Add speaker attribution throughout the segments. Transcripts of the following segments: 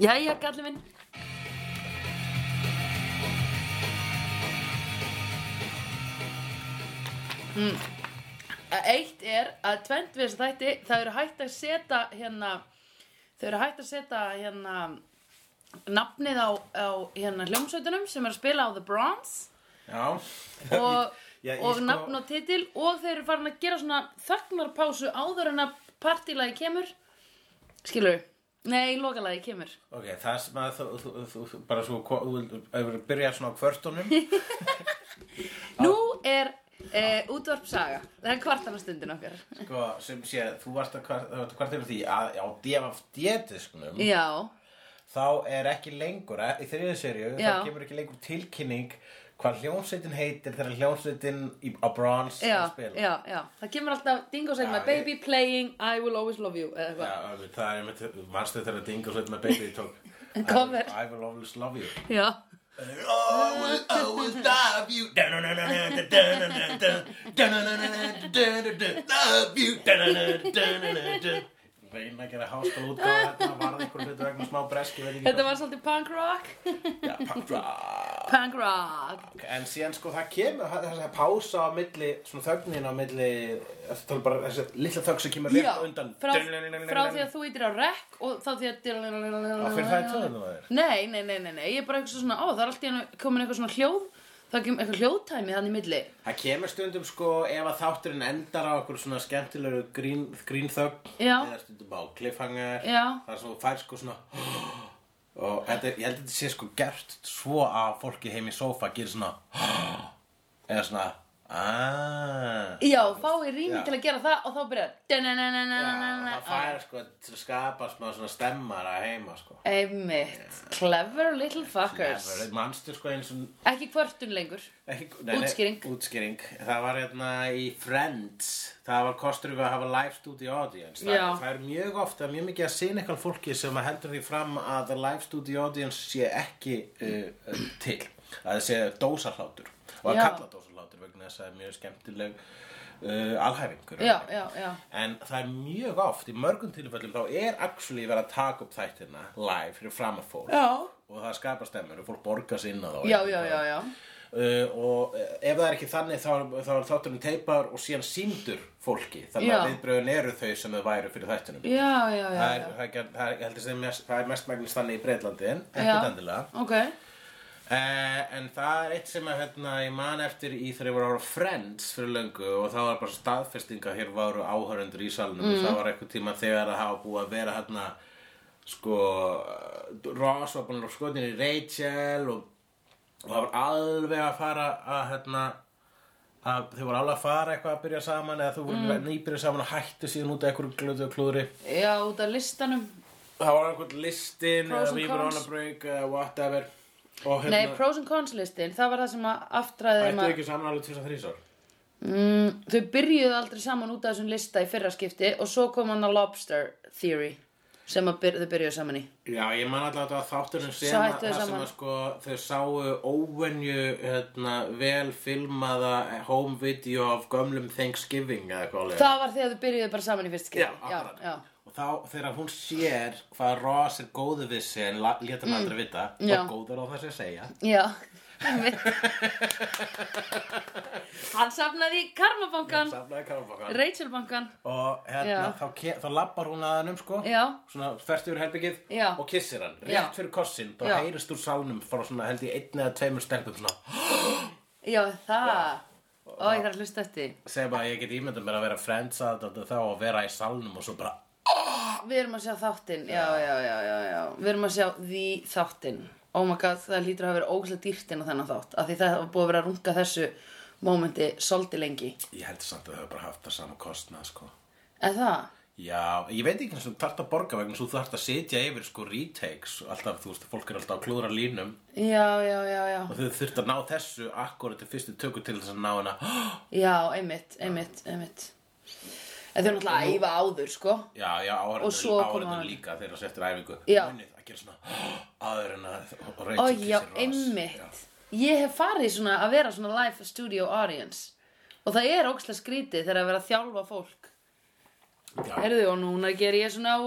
Speaker 1: kallið minn Eitt er Hmm. að tvend við þess að þætti það eru hægt að setja hérna þau eru hægt að setja hérna nafnið á, á hérna hljómsveitunum sem er að spila á The Bronze
Speaker 2: Já,
Speaker 1: og,
Speaker 3: Já, ég
Speaker 1: og
Speaker 3: sko-
Speaker 1: nafn og titil og þau eru farin að gera svona þögnarpásu áður en að partílagi kemur skilur nei, lokalagi kemur
Speaker 2: ok, það sem að þú, þú, þú, þú bara svo, ko- þú vildur- ef við byrja svona á kvörtunum
Speaker 1: nú er e, útvarpsaga það er kvartanastundin okkar
Speaker 2: sko, sem sé, þú varst að kvart- þú varst að kvarta yfir því að á DFD-disknum
Speaker 1: já,
Speaker 2: þá er ekki lengur, eh, í þriðið serju
Speaker 1: Já.
Speaker 2: þá kemur ekki lengur tilkynning hvað hljómsveitin heitir þegar hljómsveitin í- á bronze er að
Speaker 1: já,
Speaker 2: spila
Speaker 1: já, já það kemur alltaf Dingo segir
Speaker 2: Já,
Speaker 1: maður
Speaker 2: ég-
Speaker 1: baby playing, I will always love you eða eitthvað
Speaker 2: Já, það er einmitt, manstu þegar að Dingo sveit með baby tók
Speaker 1: Cover.
Speaker 2: I will always love you
Speaker 1: já,
Speaker 2: I will always love you Love you Reina að gera háskóla útgáð Þetta var einhver hlutu vegna smá breski veit ekki
Speaker 1: þetta var svolítið punk rock
Speaker 2: hvað- Já, punk rock.
Speaker 1: punk rock
Speaker 2: En síðan sko það kemur það- þessi pása á milli, svona þögnin á milli Þetta tala bara þessi litla þögn sem kemur rétt
Speaker 1: Já,
Speaker 2: á undan
Speaker 1: frá, frá því að þú ítir á rekk og þá því að
Speaker 2: Já, fyrir það er tóðum það er
Speaker 1: Nei, nei, nei, nei, nei, ég er bara eitthvað svona, ó, það er alltaf henni komin eitthvað svona hljóð, það er eitthvað hljóðtæmi þannig í milli.
Speaker 2: Það kemur stundum sko ef að þátturinn endar á okkur svona skemmtilegu grín, grínþögg
Speaker 1: Já.
Speaker 2: eða stundum á cliffhanger
Speaker 1: Já.
Speaker 2: þar sem þú fær sko svona og þetta, er- ég held að þetta sé sko gert svo að fólki heim í sófa gerir svona eða svona "Ah." aaaah
Speaker 1: Já, fái rými
Speaker 2: Já.
Speaker 1: til að gera það og þá byrja
Speaker 2: það fær sko til að skapa smá svona stemmara heima sko
Speaker 1: Einmitt, clever little fuckers
Speaker 2: Never. Manstu sko eins og
Speaker 1: Ekki kvörtun lengur
Speaker 2: Ekki, nei, nei,
Speaker 1: Útskýring.
Speaker 2: útskýring. Það var hérna í Friends, það var kostur við að hafa live studio audience. Það,
Speaker 1: Já.
Speaker 2: það er mjög ofta, mjög mikið að sinna eitthvað fólki sem að heldur því fram að the live studio audience sé ekki uh, uh, til. Að það sé dósarhlátur og að
Speaker 1: Já.
Speaker 2: kalla dósarhlátur vegna þess að það er mjög skemmtileg uh, alhæfingur.
Speaker 1: Já, já, já
Speaker 2: En það er mjög oft, í mörgum tilfellum þá er actually verið að taka upp þættina live fyrir fram að fólk
Speaker 1: Já,
Speaker 2: og það skapar stemmur og fólk borgar sig inn á þá.
Speaker 1: já, já, já, já.
Speaker 2: Uh, og eh, ef það er ekki þannig þá, þá er þátturinn teipaður og síðan síndur fólki þannig að
Speaker 1: Já.
Speaker 2: viðbröðin eru þau sem þau væru fyrir þættinum
Speaker 1: Já, já, já,
Speaker 2: það
Speaker 1: já.
Speaker 2: er, það er, gert- það er, ég held að það er mest, það er mest magnist þannig í Breitlandi en
Speaker 1: Já.
Speaker 2: ekkert endilega
Speaker 1: Ok,
Speaker 2: Eh, en það er eitt sem að, hérna, ég man eftir í þegar ég voru ára Friends fyrir löngu og það var bara staðfesting að hér varu áhörundur í salnum
Speaker 1: Mhm.
Speaker 2: og það var eitthvað tíma þegar að hafa búið að vera hérna sko eh, Ross var búin að skotin í Rachel og, og það var alveg að fara að hérna að þau voru alveg að fara eitthvað að byrja saman eða þau voru
Speaker 1: Mhm.
Speaker 2: mm. nýbyrja saman og hættu síðan út af einhverju glöðu og klúðri
Speaker 1: já, út af listanum
Speaker 2: það var einhvern listin
Speaker 1: Pros
Speaker 2: eða
Speaker 1: and
Speaker 2: we were on
Speaker 1: cons.
Speaker 2: a break eða whatever og hérna
Speaker 1: Nei, pros and cons listin, það var það sem að aftræði
Speaker 2: Ættu ekki saman alveg tvisar þrísar?
Speaker 1: Mm, þau byrjuðu aldrei saman út af þessum lista í fyrra skipti og svo kom hann að Lobster Theory sem að byr, þau byrjuðu saman í.
Speaker 2: Já, ég man alltaf að þátturinn sem
Speaker 1: Svo
Speaker 2: að
Speaker 1: hættu þau
Speaker 2: það sem
Speaker 1: saman.
Speaker 2: að sko þau sáu óvenju hérna, vel filmaða home video af gömlum Thanksgiving eða hvað leið.
Speaker 1: Það var þegar þau byrjuðu bara saman í fyrst skipti.
Speaker 2: Já, akkurat.
Speaker 1: já,
Speaker 2: Og þá þegar hún sér hvað Ross er góðu við sig en la- lét hann aldrei vita
Speaker 1: Mm. Já.
Speaker 2: og góður á þess að segja.
Speaker 1: já. já. einmitt. hann safnaði í karmabankan,
Speaker 2: Safnaði karfabakar.
Speaker 1: Rachel bankan,
Speaker 2: Og hérna,
Speaker 1: Já.
Speaker 2: þá, ke- þá lappar hún að hann um sko.
Speaker 1: já,
Speaker 2: Svona þvert yfir herbyggið
Speaker 1: Já.
Speaker 2: og kissir hann. Rétt
Speaker 1: Já.
Speaker 2: fyrir kossin, þá
Speaker 1: Já.
Speaker 2: heyrist úr salnum frá svona held ég einn eða tveimur stelpum svona.
Speaker 1: já það. Ó, ég þarf að hlusta eftir. því.
Speaker 2: sem að ég get ímyndað mér að vera friends aðdöndu þá og vera í salnum og svo bara
Speaker 1: Við erum að sjá þáttinn, já, já, já, já, já. Við erum að sjá því þáttinn. Oh my god, það lítur að hafa verið ógæslega dýrt inn á þennan þátt. Af því það var búið að vera að runga þessu mómenti svolítið lengi.
Speaker 2: ég held samt að þau hafa bara haft það sama kostnað sko.
Speaker 1: Er það?
Speaker 2: já, ég veit ekki eins og þarft að borga vegna svo þú þarft að sitja yfir sko retakes og alltaf, þú veist, fólk er alltaf að klúðra línum
Speaker 1: Já, já, já, já.
Speaker 2: og þau þurft að ná þessu akkurat til fyrstu tökur til þess að ná hana
Speaker 1: Já, einmitt, einmitt, einmitt. En þau eru náttúrulega að æfa áður, sko.
Speaker 2: já, já,
Speaker 1: Og svo kom hann.
Speaker 2: áhörðan líka þegar þessu eftir æfingu
Speaker 1: Já.
Speaker 2: munið að gera svona áður en að og
Speaker 1: Ó, já,
Speaker 2: Rachel kissir Ross. Já.
Speaker 1: einmitt. Ég hef farið í svona að vera svona live studio audience. Og það er ókslega skrítið þegar að vera að þjálfa fólk.
Speaker 2: Já.
Speaker 1: Herðu, og núna ger ég svona, "Ó,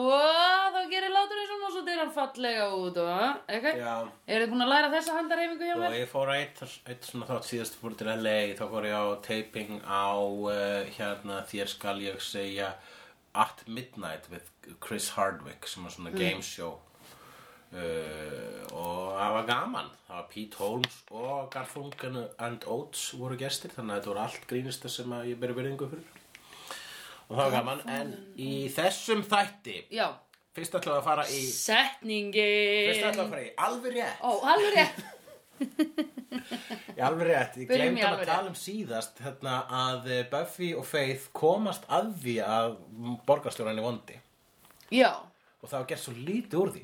Speaker 1: þá gerir láturinn svona og svo deyr hann fallega út og, eitthvað?
Speaker 2: Já.
Speaker 1: Eru þið búin að læra þessa handarhefingu hjá
Speaker 2: Og
Speaker 1: mér?
Speaker 2: ég fór að eitt, eitt svona þátt síðast fór til LA, þá fór ég á taping á uh, hérna þér skal ég segja At Midnight with Chris Hardwick sem var svona game show uh, og það var gaman það var Pete Holmes og Garfunkel and Oates voru gestir þannig að þetta voru allt grínista sem að ég beri verðingu fyrir og það var gaman en í þessum þætti
Speaker 1: Já,
Speaker 2: fyrst ætlum við að fara í fyrst ætlum við
Speaker 1: setningi.
Speaker 2: að fara í alveg rétt
Speaker 1: Ó, alveg rétt.
Speaker 2: Ég alveg rétt, ég
Speaker 1: Byrjum
Speaker 2: glemt
Speaker 1: í
Speaker 2: að
Speaker 1: alveg
Speaker 2: tala um síðast hérna, að eh, Buffy og Faith komast að því að borgarstjóran er vondi
Speaker 1: Já,
Speaker 2: og það var gert svo lítið úr því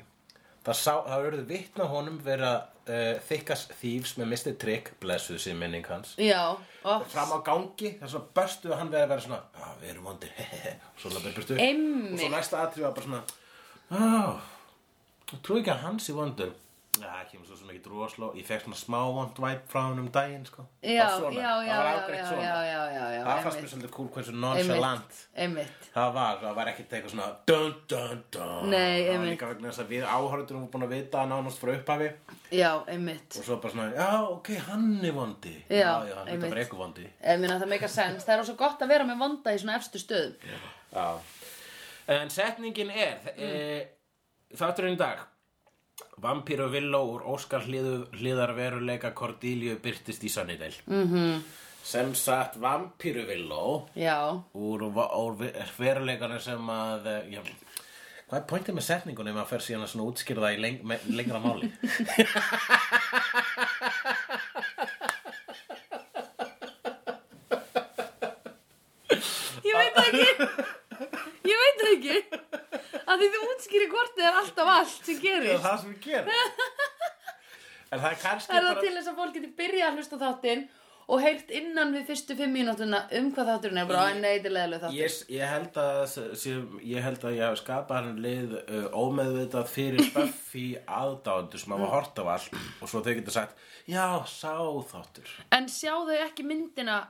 Speaker 2: það, sá, það verður vitna honum vera uh, þykast þýfs með Mr. Trick blessuð sér minning hans
Speaker 1: já, ó,
Speaker 2: og fram á gangi, það er svona börstuð hann verið að vera svona, að við erum vondi og svo labbaði burtu.
Speaker 1: Einmitt.
Speaker 2: og svo næsta atrið var bara svona að, þú trúi ekki að hans í vondur Já, það kemur svo sem ekki drosló Ég fekk svona smá vond væp frá hann um daginn sko.
Speaker 1: já,
Speaker 2: Það var svona.
Speaker 1: já, já,
Speaker 2: Það var
Speaker 1: já,
Speaker 2: afgreitt
Speaker 1: já,
Speaker 2: svona.
Speaker 1: já, já, já, já,
Speaker 2: Það fannst mér
Speaker 1: einmitt,
Speaker 2: svolítið cool hversu nonchalant
Speaker 1: einmitt.
Speaker 2: það var, það var ekkert eitthvað svona dun, dun, dun.
Speaker 1: Nei,
Speaker 2: það var
Speaker 1: einmitt.
Speaker 2: líka vegna þess að við áhörðunum vorum búin að vita að nánast frá upphafi
Speaker 1: Já, einmitt.
Speaker 2: og svo bara svona, já, ok, hann er vondi
Speaker 1: Já,
Speaker 2: já hann er
Speaker 1: einmitt.
Speaker 2: bara eitthvað vondi
Speaker 1: Ég meina það meika sens. Það er svo gott að vera með vonda í svona efstu stöðum.
Speaker 2: já. en setningin er mm. e, þátturinn í dag Vampíru Villó úr Óskar hliðu, hliðar veruleika Cordelia byrtist í Sunnydale mm
Speaker 1: Mhm.
Speaker 2: -hmm. sem sagt Vampíru Villó
Speaker 1: Já,
Speaker 2: úr, úr veruleikana sem að eh, já, hvað er pointið með setningunni ef maður fer síðan að svona útskýrða í leng, me, lengra máli
Speaker 1: Ég veit það ekki Ég veit það ekki að því þú útskýri hvort þið er alltaf allt sem gerist
Speaker 2: það sem við gerum en það er kannski
Speaker 1: Það er það til þess að fólk getur byrjað að hlusta á þáttinn og heyrt innan við fyrstu fimm mínútuna um hvað þátturinn er bara að neytilega þáttur
Speaker 2: ég, ég held að s- sé, ég held að ég hef skapað hann lið uh, ómeðvitað fyrir Buffy aðdándu sem hafa hort á allt og svo þau getur sagt já, sá þáttur
Speaker 1: En sjá þau ekki myndina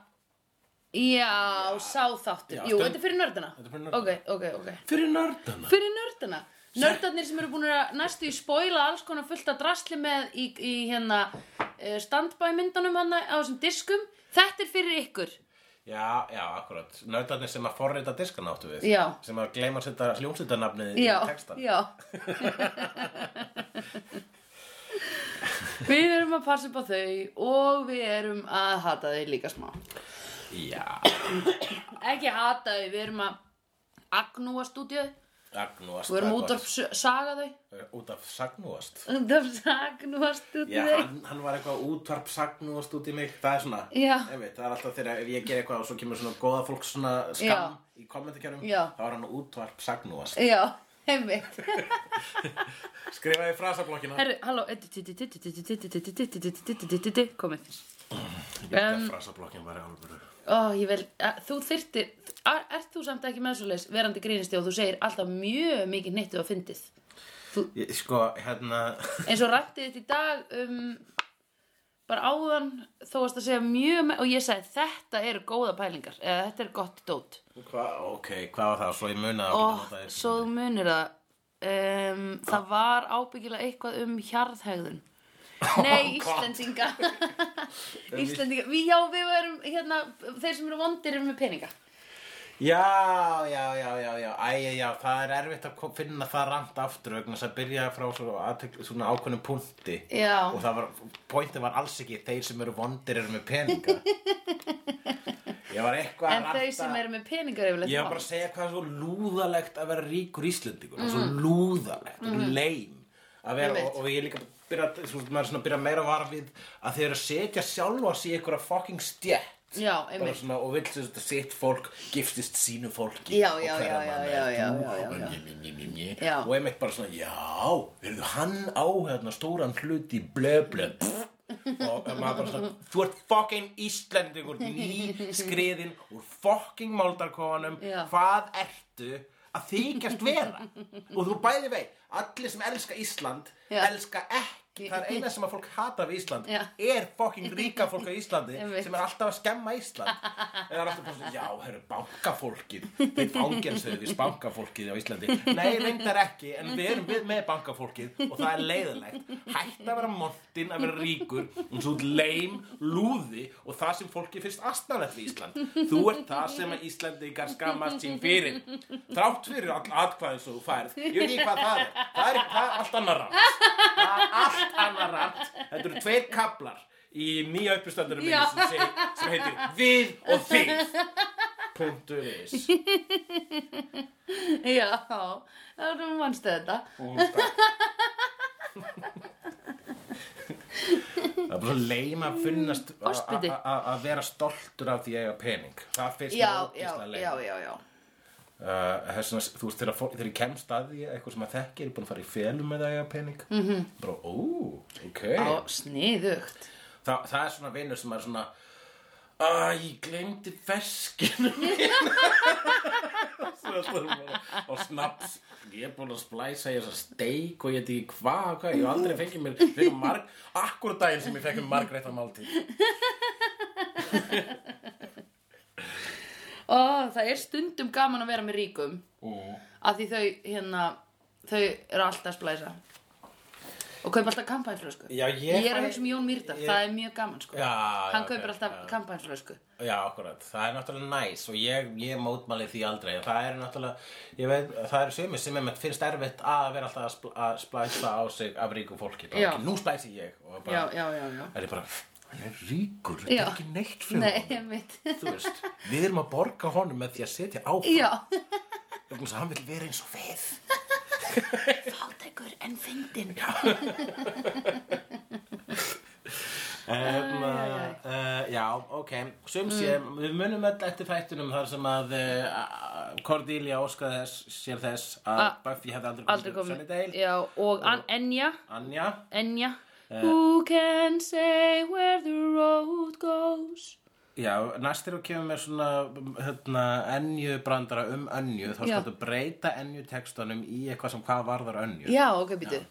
Speaker 1: Já, sá þáttur
Speaker 2: Já,
Speaker 1: Jú,
Speaker 2: stund-
Speaker 1: þetta er fyrir nördana
Speaker 2: Þetta er fyrir nördana.
Speaker 1: Ok, ok, ok
Speaker 2: fyrir nördana
Speaker 1: Fyrir nördana Nördarnir sem eru búin að næstu í spoila alls konar fullt að drasli með í, í hérna eh, standby myndunum hana á þessum diskum Þetta er fyrir ykkur
Speaker 2: Já, já, akkurat. Nautarnir sem að forrita diskana áttu við.
Speaker 1: Já.
Speaker 2: Sem að gleyma að setja hljómsveitarnafnið í
Speaker 1: já,
Speaker 2: textan.
Speaker 1: já. við erum að passa upp á þau og við erum að hata þau líka smá
Speaker 2: Já,
Speaker 1: ekki hata þau, við erum að agnúa stúdíu við
Speaker 2: agnúast.
Speaker 1: erum út af saga þau
Speaker 2: Út af sagnúast.
Speaker 1: út af agnúa
Speaker 2: Já,
Speaker 1: stúdíu
Speaker 2: hann, hann var eitthvað útvarp sagnúast út í mig. Það er svona,
Speaker 1: Já.
Speaker 2: ég veit, það er alltaf þegar ef ég ger eitthvað og svo kemur svona góða fólk svona skam í kommentarkjörum.
Speaker 1: Já.
Speaker 2: Þá var hann útvarp sagnúast.
Speaker 1: já, einmitt
Speaker 2: Skrifaði í frasablokkina.
Speaker 1: herru, halló komið
Speaker 2: Ég veit að
Speaker 1: em,
Speaker 2: frasablokkin var í alvöru.
Speaker 1: Ó, ég vel, að, þú þyrtir, ert þú samt ekki með svoleiðis verandi grínisti og þú segir alltaf mjög mikið nýttu og fyndið. Þú,
Speaker 2: Ég, sko, hérna...
Speaker 1: eins og rættið þetta í dag um, bara áðan þó varst að segja mjög me- og ég sagði þetta eru góða pælingar eða þetta er gott dót
Speaker 2: Hva, ok, hvað var það? Svo ég muna að
Speaker 1: og svo þú munir það um, það var ábyggilega eitthvað um hjarðhegðun Nei,
Speaker 2: Gott.
Speaker 1: Íslendinga Íslendinga, við, já við erum hérna, þeir sem eru vondir eru með peninga
Speaker 2: Já, já, já, já, já, æja, já, það er erfitt að ko- finna það rand aftur vegna þess að byrja frá svo aðtekl, svona ákveðnum punkti
Speaker 1: Já.
Speaker 2: og það var, pointið var alls ekki þeir sem eru vondir eru með peninga Ég var eitthvað að
Speaker 1: en
Speaker 2: ranta
Speaker 1: þau sem eru með peningar yfirleitt
Speaker 2: Ég var bara að segja hvað er svo lúðalegt að vera ríkur íslendingur mm. svo lúðalegt, mm. leim að vera,
Speaker 1: Mm-hmm. Einmitt.
Speaker 2: og, og ég er líka byrja, svo, maður er svona að byrja meira að vara við að þeir eru að setja sjálfa sig í einhverja fucking stjætt
Speaker 1: já,
Speaker 2: bara
Speaker 1: einmitt
Speaker 2: svona og vill þess að sitt fólk giftist sínu fólki
Speaker 1: Já,
Speaker 2: og
Speaker 1: já,
Speaker 2: hverra
Speaker 1: já,
Speaker 2: manna
Speaker 1: já,
Speaker 2: ert
Speaker 1: já,
Speaker 2: þú?
Speaker 1: já, já,
Speaker 2: Og
Speaker 1: já.
Speaker 2: njé, njé, njé, njé, njé.
Speaker 1: Já.
Speaker 2: og einmitt bara svona já, verður hann á hérna stóran hlut í blö blö pff. og maður bara svona þú ert fucking Íslendingur ný skriðin úr fucking máldarkofanum
Speaker 1: Já.
Speaker 2: hvað ertu að þykjast vera og þú bæði vei allir sem elska Ísland
Speaker 1: Já.
Speaker 2: elska ekki það er eina sem að fólk hatar við Ísland
Speaker 1: Já.
Speaker 2: er fokking ríka fólk á Íslandi
Speaker 1: Einmitt.
Speaker 2: sem er alltaf að skemma Ísland en það er alltaf bara svona, já, herru, bankafólkið við fangelsuðu við bankafólkið á Íslandi nei, reyndar ekki, en við erum við með bankafólkið og það er leiðilegt hætt að vera montinn að vera ríkur um svo leim, lúði og það sem fólki finnst astanlegt við Ísland þú ert það sem að Íslandingar skammast sín fyrir þrátt fyrir all atkvæðin sem þú færð ég veit ekki hvað það er, það er, það er allt annar rant það er allt annar rant þetta eru tveir kaplar í nýja uppistöndurum minni
Speaker 1: Já.
Speaker 2: sem, seg, sem heitir Við og þið Punktur is
Speaker 1: Já, það er um mannstu þetta.
Speaker 2: Og Það er bara svo leim að finnast a-
Speaker 1: Ástbiti.
Speaker 2: a- a- að vera stoltur af því að eiga pening Það finnst
Speaker 1: Já,
Speaker 2: mér
Speaker 1: já,
Speaker 2: ógeðslega leim
Speaker 1: já, já, já.
Speaker 2: uh, þess vegna, þú veist, þegar, fólk, þegar ég kemst að því að eitthvað sem að þekki er búin að fara í felum með það eiga pening mm -hmm. bara, ó, ok
Speaker 1: Mhm. Á, sniðugt.
Speaker 2: Þa, það er svona vinur sem er svona Æ, ég glemdi feskinu mín Svona svona bara- Og snaps Ég er búin að splæsa í þessa steik Og ég veit ekki hvað, og hvað Ég hef aldrei fengið mér fyrir marg Akkur daginn sem ég fekk um margreittan máltíð
Speaker 1: Ó, það er stundum gaman að vera með ríkum.
Speaker 2: mm.
Speaker 1: Af því þau, hérna, þau eru alltaf að splæsa. Og kaupa alltaf kampænflösku.
Speaker 2: Já, ég
Speaker 1: er að
Speaker 2: fæ-
Speaker 1: hugsa um Jón Mýrdal,
Speaker 2: ég-
Speaker 1: það er mjög gaman, sko.
Speaker 2: Já,
Speaker 1: Hann
Speaker 2: já,
Speaker 1: kaupir
Speaker 2: ok,
Speaker 1: alltaf
Speaker 2: já.
Speaker 1: kampænflösku.
Speaker 2: Já, akkurat, það er náttúrulega næs og ég, ég mótmæli því aldrei það er náttúrulega, ég veit, það eru sumir sem er finnst erfitt að vera alltaf að, spl að splæsa á sig af ríku fólki
Speaker 1: Já.
Speaker 2: bara, nú splæsi ég og
Speaker 1: Já,
Speaker 2: bara,
Speaker 1: já, já, já.
Speaker 2: er ég bara, hann er ríkur, þetta
Speaker 1: Já.
Speaker 2: er ekki neitt fyrir
Speaker 1: Nei,
Speaker 2: honum,
Speaker 1: mitt.
Speaker 2: þú veist við erum að borga honum með því að setja á
Speaker 1: Já.
Speaker 2: vegna þess að hann vil vera eins og við
Speaker 1: Fátækur en fyndin.
Speaker 2: Um, uh, uh, já, ok Sum sé,
Speaker 1: Mm.
Speaker 2: við munum öll eftir fættunum þar sem að uh, Cordelia óskaði þess, sér þess að
Speaker 1: Ah,
Speaker 2: Buffy hefði aldrei
Speaker 1: Aldrei
Speaker 2: komið til
Speaker 1: komið.
Speaker 2: Sunnydale
Speaker 1: Já, og An Enja.
Speaker 2: Anja
Speaker 1: Enja.
Speaker 2: Eh.
Speaker 1: Who can say where the road goes?
Speaker 2: Já, næst þegar þú kemur með svona hérna, ennju brandara um önnju þá
Speaker 1: Já.
Speaker 2: skal þú breyta ennju textunum í eitthvað sem hvað varðar önnju
Speaker 1: Já, ok, býtu.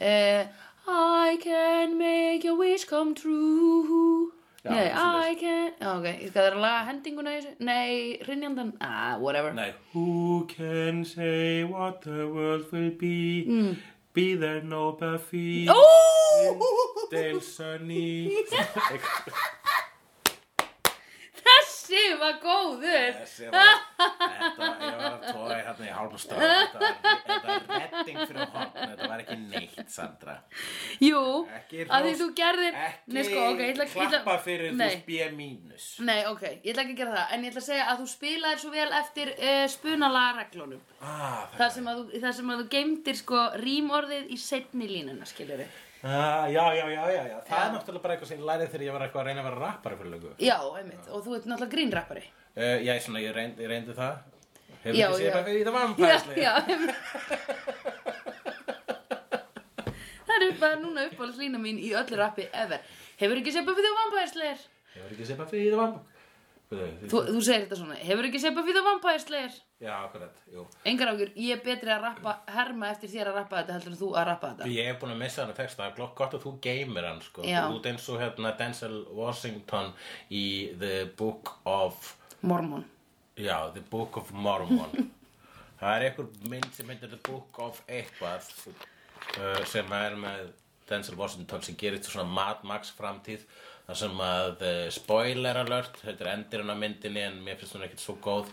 Speaker 1: Uh, I can make your wish come true.
Speaker 2: Já,
Speaker 1: Nei,
Speaker 2: svoleiðis.
Speaker 1: I can... Já, ok, ég skal það að laga hendinguna í þessu. Nei, rinjandan. Ah, whatever.
Speaker 2: Nei, who can say what the world will be Be there no Buffy
Speaker 1: Mm. Ó!
Speaker 2: Dale Sunny
Speaker 1: Þessi var góður.
Speaker 2: Þessi var, þetta, ég var að tóa í hérna í hálmstöð, þetta var, þetta var redding fyrir horn, þetta var ekki neitt, Sandra.
Speaker 1: Jú,
Speaker 2: Ekki
Speaker 1: að því
Speaker 2: hrós-
Speaker 1: þú gerðir...
Speaker 2: Ekki
Speaker 1: Nei, sko, ok, ég ætla... ég ætla-
Speaker 2: klappa fyrir þú
Speaker 1: Nei. Mm.
Speaker 2: spíja mínus.
Speaker 1: Nei, ok, ég ætla ekki að gera það, en ég ætla að segja að þú spilaðir svo vel eftir uh, spunalagareglunum.
Speaker 2: Ah, það,
Speaker 1: Þar sem að þú, þar sem að þú geymdir sko rímorðið í setni línuna, skiljur við.
Speaker 2: ah, já, já, já, já, já, það er náttúrulega bara eitthvað sem ég lærið þegar ég var eitthvað að reyna að vera rappari fyrir lögu.
Speaker 1: Já, einmitt, og þú ert náttúrulega grínrappari.
Speaker 2: Uh, já, svona, ég reyndi, ég reyndi það. Hefur
Speaker 1: Já,
Speaker 2: ekki séð
Speaker 1: já.
Speaker 2: bara fyrir því
Speaker 1: Já,
Speaker 2: það vampærsli?
Speaker 1: já, einmitt. það er bara núna uppáhaldslína mín í öllu rappi ever. Hefur ekki séð Buffy the Vampire Slayer?
Speaker 2: Hefur ekki séð bara fyrir því það vampærsli?
Speaker 1: Þú, þú segir þetta svona, hefur ekki séð Buffy the Vampire Slayer?
Speaker 2: Já, akkurat, jú.
Speaker 1: Engar ágjur, ég er betri að rappa, herma eftir þér að rappa þetta heldur en þú að rappa þetta.
Speaker 2: Ég hef búin að missa hann að texta, það er gott- gott að þú geymir hann sko
Speaker 1: Já.
Speaker 2: Þú ert eins og hérna Denzel Washington í The Book of,
Speaker 1: Mormon.
Speaker 2: já, The Book of Mormon Það er einhver mynd sem heitir The Book of eitthvað uh, sem er með Denzel Washington sem gerir þetta svona Mad Max framtíð þar sem að uh, spoiler alert, þetta er endirinn á myndinni en mér finnst hún ekkert svo góð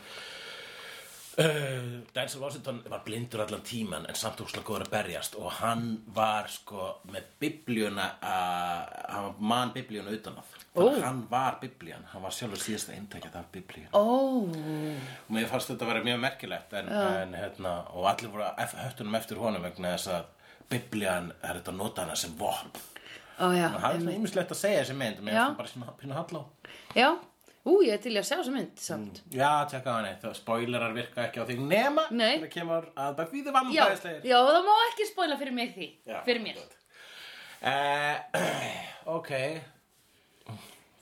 Speaker 2: Uh, Denzel Washington var blindur allan tíman en samt úrslega góður að berjast og hann var sko með biblíuna að, hann var mann biblíuna utan að þannig
Speaker 1: Ó.
Speaker 2: að hann var biblían, hann var sjálfur síðasta eintækjað af biblíuna
Speaker 1: Ó,
Speaker 2: og mér fannst þetta að vera mjög merkilegt en, en, hérna, og allir voru að höftunum eftir honum vegna þess að biblían er þetta að nota hana sem vopn
Speaker 1: ó já,
Speaker 2: og hann er
Speaker 1: einmitt.
Speaker 2: svona ímislegt að segja þessi mynd og mér
Speaker 1: Já.
Speaker 2: fannst hann bara svona pínu halló
Speaker 1: Já, ú, ég er til í að sjá þessa mynd samt.
Speaker 2: Já, tjekka hann eitt, spoilerar virka ekki á þig nema
Speaker 1: Nei.
Speaker 2: þegar kemur að bara við
Speaker 1: Já,
Speaker 2: vampæðislegir
Speaker 1: já, það má ekki spoila fyrir mig því,
Speaker 2: Mm. Já,
Speaker 1: fyrir mér.
Speaker 2: akkurat. Uh, ok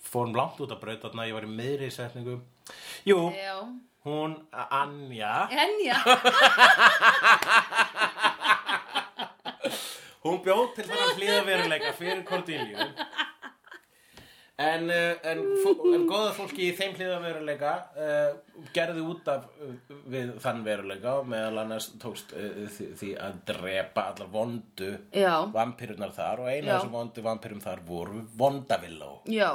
Speaker 2: Fórum langt út að braut þarna, ég var í miðri í setningu Jú,
Speaker 1: Já,
Speaker 2: hún Anja
Speaker 1: en já.
Speaker 2: Hún bjóð til þennan hlýðaveruleika fyrir Cordelia En, eh, en, fó- en góða fólki í þeim hlýðaveruleika uh, gerði út af uh, við þann veruleika og meðal annars tókst uh, því, því að drepa allar vondu
Speaker 1: Já.
Speaker 2: vampirurnar þar og
Speaker 1: Já.
Speaker 2: eina þessum vondu vampirum þar voru vondavilló
Speaker 1: Já.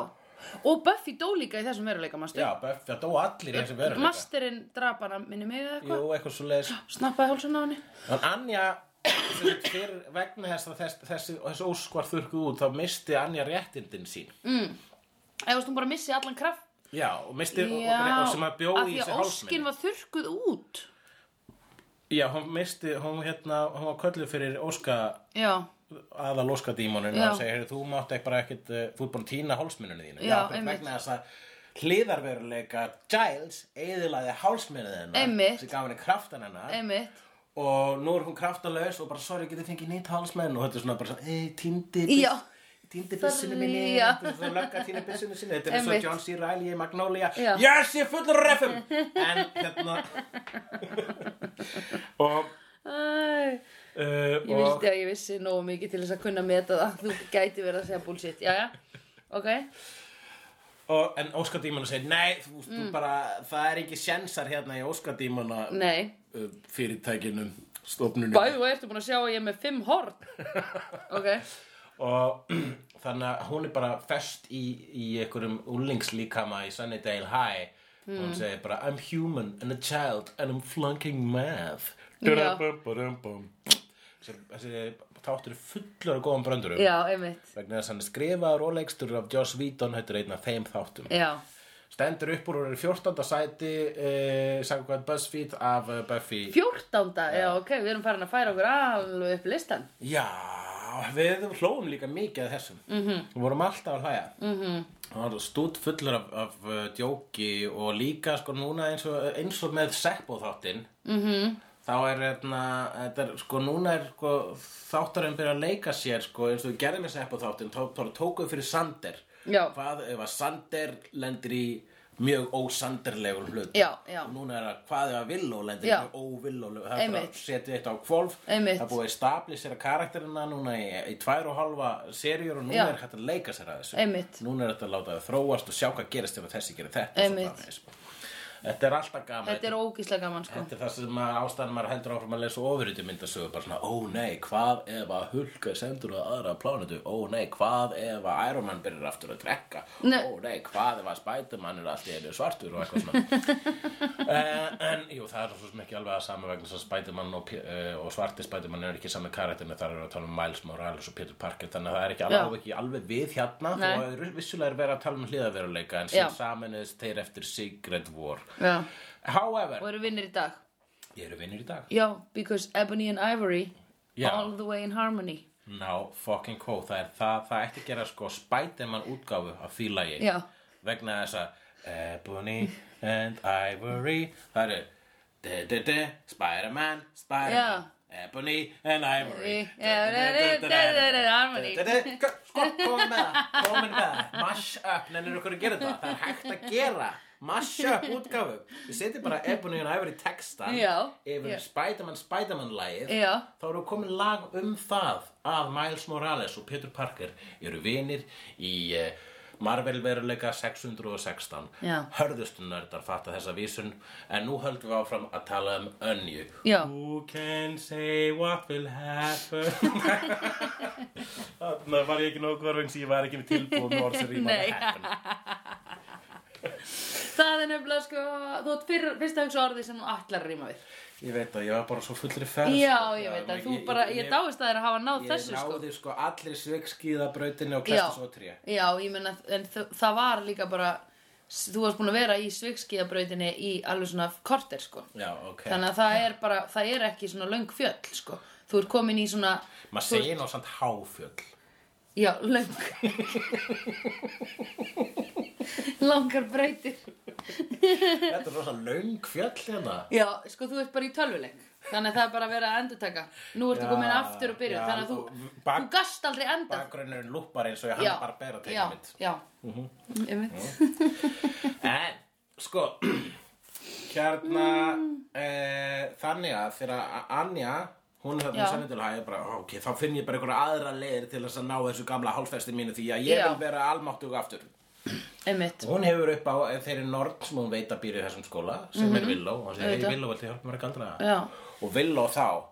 Speaker 1: Og Buffy dó líka í þessum veruleika, mastu?
Speaker 2: Já, Buffy, það dó allir í þessu veruleika
Speaker 1: Masterinn drap hana minni mig eða
Speaker 2: Jú,
Speaker 1: eitthvað?
Speaker 2: eitthvað svo leis
Speaker 1: Snappaði hálsun á henni?
Speaker 2: En Anja sem sagt, fyrir, vegna þess að þess, þessi, þessi óskvar þurrkuð út þá misti Anja réttindin sín
Speaker 1: Eða varst hún bara missi allan kraft?
Speaker 2: Já, og misti og, og, og sem að
Speaker 1: af
Speaker 2: bjóði í
Speaker 1: því
Speaker 2: þessi
Speaker 1: að óskin
Speaker 2: hálsmenn
Speaker 1: var þurrkuð út.
Speaker 2: Já, hún misti, hún hérna hún var kölluð fyrir óska
Speaker 1: Já,
Speaker 2: aðal óskadímonun
Speaker 1: Já.
Speaker 2: og segir, "Heyrðu, þú mátt ekki bara ekkit uh, þú ert búin að týna hálsmennunni þínu
Speaker 1: Já,
Speaker 2: bara
Speaker 1: einmitt.
Speaker 2: vegna þess að hliðarveruleika Giles eðilaði hálsmennuð hennar
Speaker 1: Einmitt.
Speaker 2: sem gaf henni kraftan hennar
Speaker 1: einmitt.
Speaker 2: og nú er hún kraftalaus og bara sorry getið fengið nýtt hálsmenn og þetta er svona bara svona ey, týndi byss-
Speaker 1: Já.
Speaker 2: týndi byssinu minni
Speaker 1: Sorry, já.
Speaker 2: þetta er svona lögga týndi byssinu sinni þetta er eins
Speaker 1: Einmitt.
Speaker 2: og John C. Reilly í Magnolia
Speaker 1: Já.
Speaker 2: yes, ég er fullur af refum en hérna og
Speaker 1: Æ,
Speaker 2: Uh,
Speaker 1: ég vildi að ég vissi nógu mikið til þess að kunna meta það. Þú gæti verið að segja bullshit. Jæja, ok.
Speaker 2: og, en óskadímanu segir nei, þú,
Speaker 1: Mm.
Speaker 2: þú bara, það er ekki sjensar hérna í óskadímana
Speaker 1: Nei.
Speaker 2: uh, fyrirtækinu stofnunum
Speaker 1: Bæðu og ertu búin að sjá að ég er með fimm horn. Ok.
Speaker 2: og þannig að hún er bara fest í, í einhverjum úlingslíkama í Sunnydale High mm. hún segir bara I'm human and a child and I'm flunking math
Speaker 1: Já.
Speaker 2: Dudabum-bum-bum. þessi þessi þáttur er fullur af góðan bröndurum
Speaker 1: Já, einmitt.
Speaker 2: vegna þess að hann er skrifaður og leikstur af Joss Whedon þetta er einn af þeim þáttum
Speaker 1: Já,
Speaker 2: stendur upp úr og er í 14. sæti eh, sagði BuzzFeed af eh, Buffy
Speaker 1: fjórtánda. Já, ok, við erum farin að færa okkur alveg upp í listan.
Speaker 2: Já, við hlóum líka mikið að þessum. -hmm.
Speaker 1: Mhm.
Speaker 2: Við vorum alltaf að hlæja. Mm -hmm. Það var stútt fullur af, af uh, djóki og líka sko núna eins og, eins og með Seppo þáttinn. Mm
Speaker 1: Mhm.
Speaker 2: -hmm. Þá er, etna, er sko núna er sko, þáttarinn byrja að leika sér sko eins og við gerðum með Seppo þáttinn. Þá tó, tókuðu fyrir Sander.
Speaker 1: Já.
Speaker 2: Hvað ef að Sander lendir í mjög ósanderlegur hlut.
Speaker 1: Já, já.
Speaker 2: Núna er að hvað ef að Villó lendir í
Speaker 1: Já.
Speaker 2: mjög óvillólegur. Það er bara
Speaker 1: Einmitt.
Speaker 2: setið eitt á kvolf.
Speaker 1: Einmitt.
Speaker 2: Það er búið búið að stablisera karakterina núna í, í tvær og halva serjur og núna
Speaker 1: Já.
Speaker 2: er hægt að leika sér að þessu
Speaker 1: Einmitt.
Speaker 2: núna er þetta að láta það þróast og sjá hvað gerist ef að þessi gerir þetta og svo
Speaker 1: Einmitt.
Speaker 2: framvegis. sko. þetta er alltaf gaman
Speaker 1: Þetta er ógíslega gaman, sko.
Speaker 2: Þetta er það sem að ástæðan maður heldur áfram að lesa ofurhutu myndasögu bara svona, ó nei, hvað ef að hulka er sendur á aðra plánetu, ó nei, hvað ef að Iron Man byrjar aftur að drekka,
Speaker 1: Nei.
Speaker 2: ó nei, hvað ef að Spiderman er allt í einu svartur og eitthvað svona. uh, en, jú, það er svo sem ekki alveg að sama vegna svo Spiderman og, uh, og svarti Spiderman er ekki sami karakterinu, þar eru að tala um Miles Morales og Peter Parker, þannig að það er ekki
Speaker 1: Já.
Speaker 2: alveg, ekki alveg við hérna,
Speaker 1: Nei.
Speaker 2: þó að vissulega er verið að tala um hliðaveruleika, en
Speaker 1: Já.
Speaker 2: sem saminuðist þeir eftir Secret War.
Speaker 1: Já.
Speaker 2: However,
Speaker 1: Og eru vinnir í dag.
Speaker 2: Ég eru vinnir í dag.
Speaker 1: Já, because ebony and ivory
Speaker 2: Já.
Speaker 1: all the way in harmony.
Speaker 2: Ná, fucking cool. Það er það, það ætti að gera sko Spiderman útgáfu af því lagi.
Speaker 1: Já.
Speaker 2: Vegna þess að Ebony and Ivory, það eru de-de-de, Spiderman, Spiderman, Ebony and Ivory.
Speaker 1: Já, de-de-de-de-de-de, harmony.
Speaker 2: De-de-de, Sko, komin með það, komin með það. Mash-up, nennir okkur að gera þetta. Það er hægt að gera. Mash-up útgáfu. Við setjum bara Ebony and Ivory textan
Speaker 1: Já.
Speaker 2: yfir
Speaker 1: Já.
Speaker 2: Spiderman, Spiderman lagið
Speaker 1: Já.
Speaker 2: þá eru komin lag um það að Miles Morales og Peter Parker eru vinir í eh, Marvel veruleika 616
Speaker 1: Já.
Speaker 2: hörðustu nördar fatta þessa vísun en nú höldum við áfram að tala um önju
Speaker 1: Já.
Speaker 2: Who can say what will happen Þannig var ég ekki nógu hverfeng sem ég var ekki með tilbúin orð sem ríma
Speaker 1: Nei.
Speaker 2: með happen
Speaker 1: Það er nefnilega sko, þú ert fyrr, fyrst að hugsa orðið sem hún ætlar að rýma við.
Speaker 2: Ég veit að ég var bara svo fullri ferð
Speaker 1: Já,
Speaker 2: sko.
Speaker 1: ég veit að
Speaker 2: ég-
Speaker 1: þú
Speaker 2: ég-
Speaker 1: bara, ég,
Speaker 2: ég-
Speaker 1: dáist að þér að hafa náð
Speaker 2: Ég
Speaker 1: þessu sko.
Speaker 2: náði sko allir svegskíðabrautinni
Speaker 1: Já,
Speaker 2: og klesta svo tré
Speaker 1: já, ég meina, en þ- það var líka bara, s- þú varst búin að vera í svikskiðabrautinni í alveg svona korter sko.
Speaker 2: Já, ok
Speaker 1: Þannig að það er bara, það er ekki svona löng fjöll sko. Þú ert komin í svona,
Speaker 2: Maður segir nú samt háfjöll.
Speaker 1: já, löng. Langar brautir.
Speaker 2: Þetta er rosa löng fjöll hérna.
Speaker 1: Já, sko þú ert bara í tölvuleik Þannig að það er bara verið að endurtaka Nú ertu
Speaker 2: Já,
Speaker 1: komin aftur og byrjuð
Speaker 2: já,
Speaker 1: Þannig að
Speaker 2: og
Speaker 1: þú,
Speaker 2: bak-
Speaker 1: þú gast aldrei enda
Speaker 2: Bakgrunnurinn lúpar eins og ég hann barbera Mhm.
Speaker 1: já,
Speaker 2: tegum mitt.
Speaker 1: já Einmitt.
Speaker 2: En, sko, eh, hérna, mm. þannig að þegar að Anja, Hún er
Speaker 1: Já.
Speaker 2: þarna senni til hæði bara, ok, þá finn ég bara einhverja aðra leir til þess að ná þessu gamla hálfesti mínu því að ég
Speaker 1: Já.
Speaker 2: vil vera almáttug aftur.
Speaker 1: einmitt
Speaker 2: Hún hefur upp á eh, þeirri norn sem hún veit að býr í þessum skóla sem er Villó og hún
Speaker 1: Mhm.
Speaker 2: segir,
Speaker 1: Auðvitað.
Speaker 2: hei Villó, viltu hjálpa mér að galdra
Speaker 1: Já.
Speaker 2: það? Og Villó þá,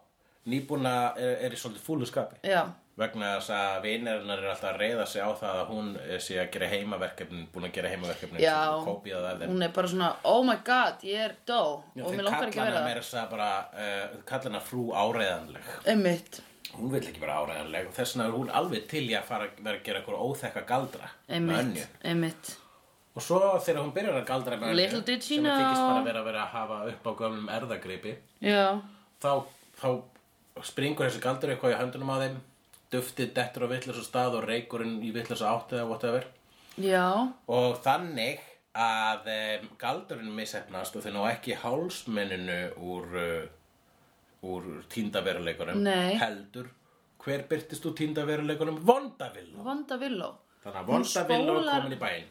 Speaker 2: nýbúna eh, er, er í svolítið fúlu skapi
Speaker 1: Já,
Speaker 2: vegna þess að vinnarinnar er alltaf að reyða sig á það að hún eh, sé að gera heimaverkefnin búin að gera heimaverkefnin
Speaker 1: Já.
Speaker 2: sem kópía það af þeim
Speaker 1: hún er bara svona Oh my god, ég er dó
Speaker 2: Já,
Speaker 1: Og
Speaker 2: þeir
Speaker 1: mér langar ekki
Speaker 2: kalla
Speaker 1: að vera það
Speaker 2: hana meira þess að bara uh, kalla hana frú áreiðanleg
Speaker 1: Einmitt,
Speaker 2: hún vil ekki vera áreiðanleg og þess vegna er hún alveg til í að fara að vera að gera eitthvað óþekka galdra með önju
Speaker 1: einmitt, einmitt
Speaker 2: og svo þegar hún byrjar að galdra með önju
Speaker 1: Little did she
Speaker 2: sem hún þykist
Speaker 1: know.
Speaker 2: bara vera að vera að hafa upp á gömlum erðagripi
Speaker 1: Já,
Speaker 2: þá, þá springur þessi galdur eitthvað í höndunum á þeim duftið dettur á vitlösa stað og reykurinn í vitlösa átt eða whatever
Speaker 1: já,
Speaker 2: og þannig að um, galdurinn missefnast og þeir ná ekki hálsmenninu úr, uh, úr tíndaveruleikunum
Speaker 1: Nei.
Speaker 2: heldur hver byrtist úr tíndaveruleikunum vondavillu
Speaker 1: vonda villó
Speaker 2: þannig að
Speaker 1: Hún
Speaker 2: vondavillu er
Speaker 1: spólar-
Speaker 2: komin í bæinn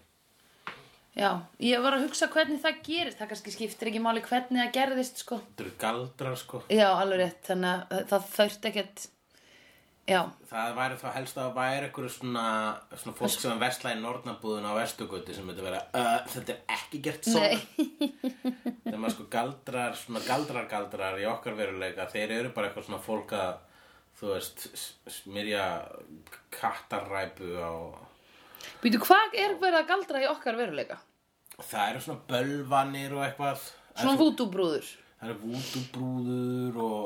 Speaker 1: Já, ég var að hugsa hvernig það gerist Það kannski skiptir ekki máli hvernig það gerðist sko.
Speaker 2: þetta eru galdrar sko
Speaker 1: Já, alveg rétt Þannig að það þurft ekkert Já,
Speaker 2: það væri þá helst að það væri einhverju svona, svona fólk sem vesla í nornabúðun á vestugöti sem myndi vera uh, þetta er ekki gert svona þegar maður sko galdrar, svona galdrar galdrar í okkar veruleika, þeir eru bara eitthvað svona fólk að, þú veist, s- smyrja kattarræpu á...
Speaker 1: býtu hvað er verið að galdra í okkar veruleika?
Speaker 2: Það eru svona bölvanir og eitthvað.
Speaker 1: Svona vútúbrúður
Speaker 2: Það eru vútubrúður og,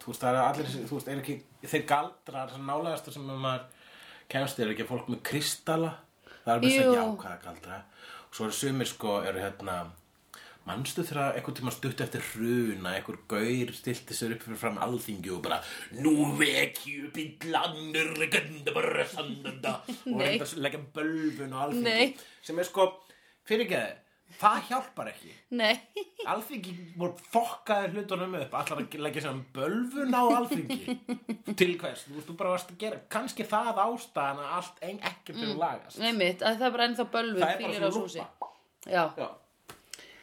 Speaker 2: þú veist, það eru allir, þessi- þú veist, eru ekki, þeir galdrar, það nálegastu sem maður kemst, eru ekki fólk með kristalla. Það eru mest
Speaker 1: Jú.
Speaker 2: að jákvæða galdra. Og svo eru sumir, sko, eru hérna, Manstu þegar einhvern tíma stutt eftir hruna, einhver gaur stilti sér upp fyrir fram alþingi og bara Nú vekju upp í glanur, gönda bara sannanda og
Speaker 1: Nei.
Speaker 2: reynda að leggja bölvun á alþingi
Speaker 1: Nei.
Speaker 2: sem er sko, fyrir ekki það hjálpar ekki
Speaker 1: Nei
Speaker 2: Alþingi voru fokkaði hlutunum upp allar að leggja sem bölvun á alþingi til hvers, þú veist, þú bara varst að gera kannski það ástæðan að allt ein, ekkert er lagast
Speaker 1: Einmitt, að það er bara ennþá bölvur
Speaker 2: Það er bara
Speaker 1: fýlir Mm. á
Speaker 2: svona
Speaker 1: súsi
Speaker 2: lúppa.
Speaker 1: Já,
Speaker 2: Já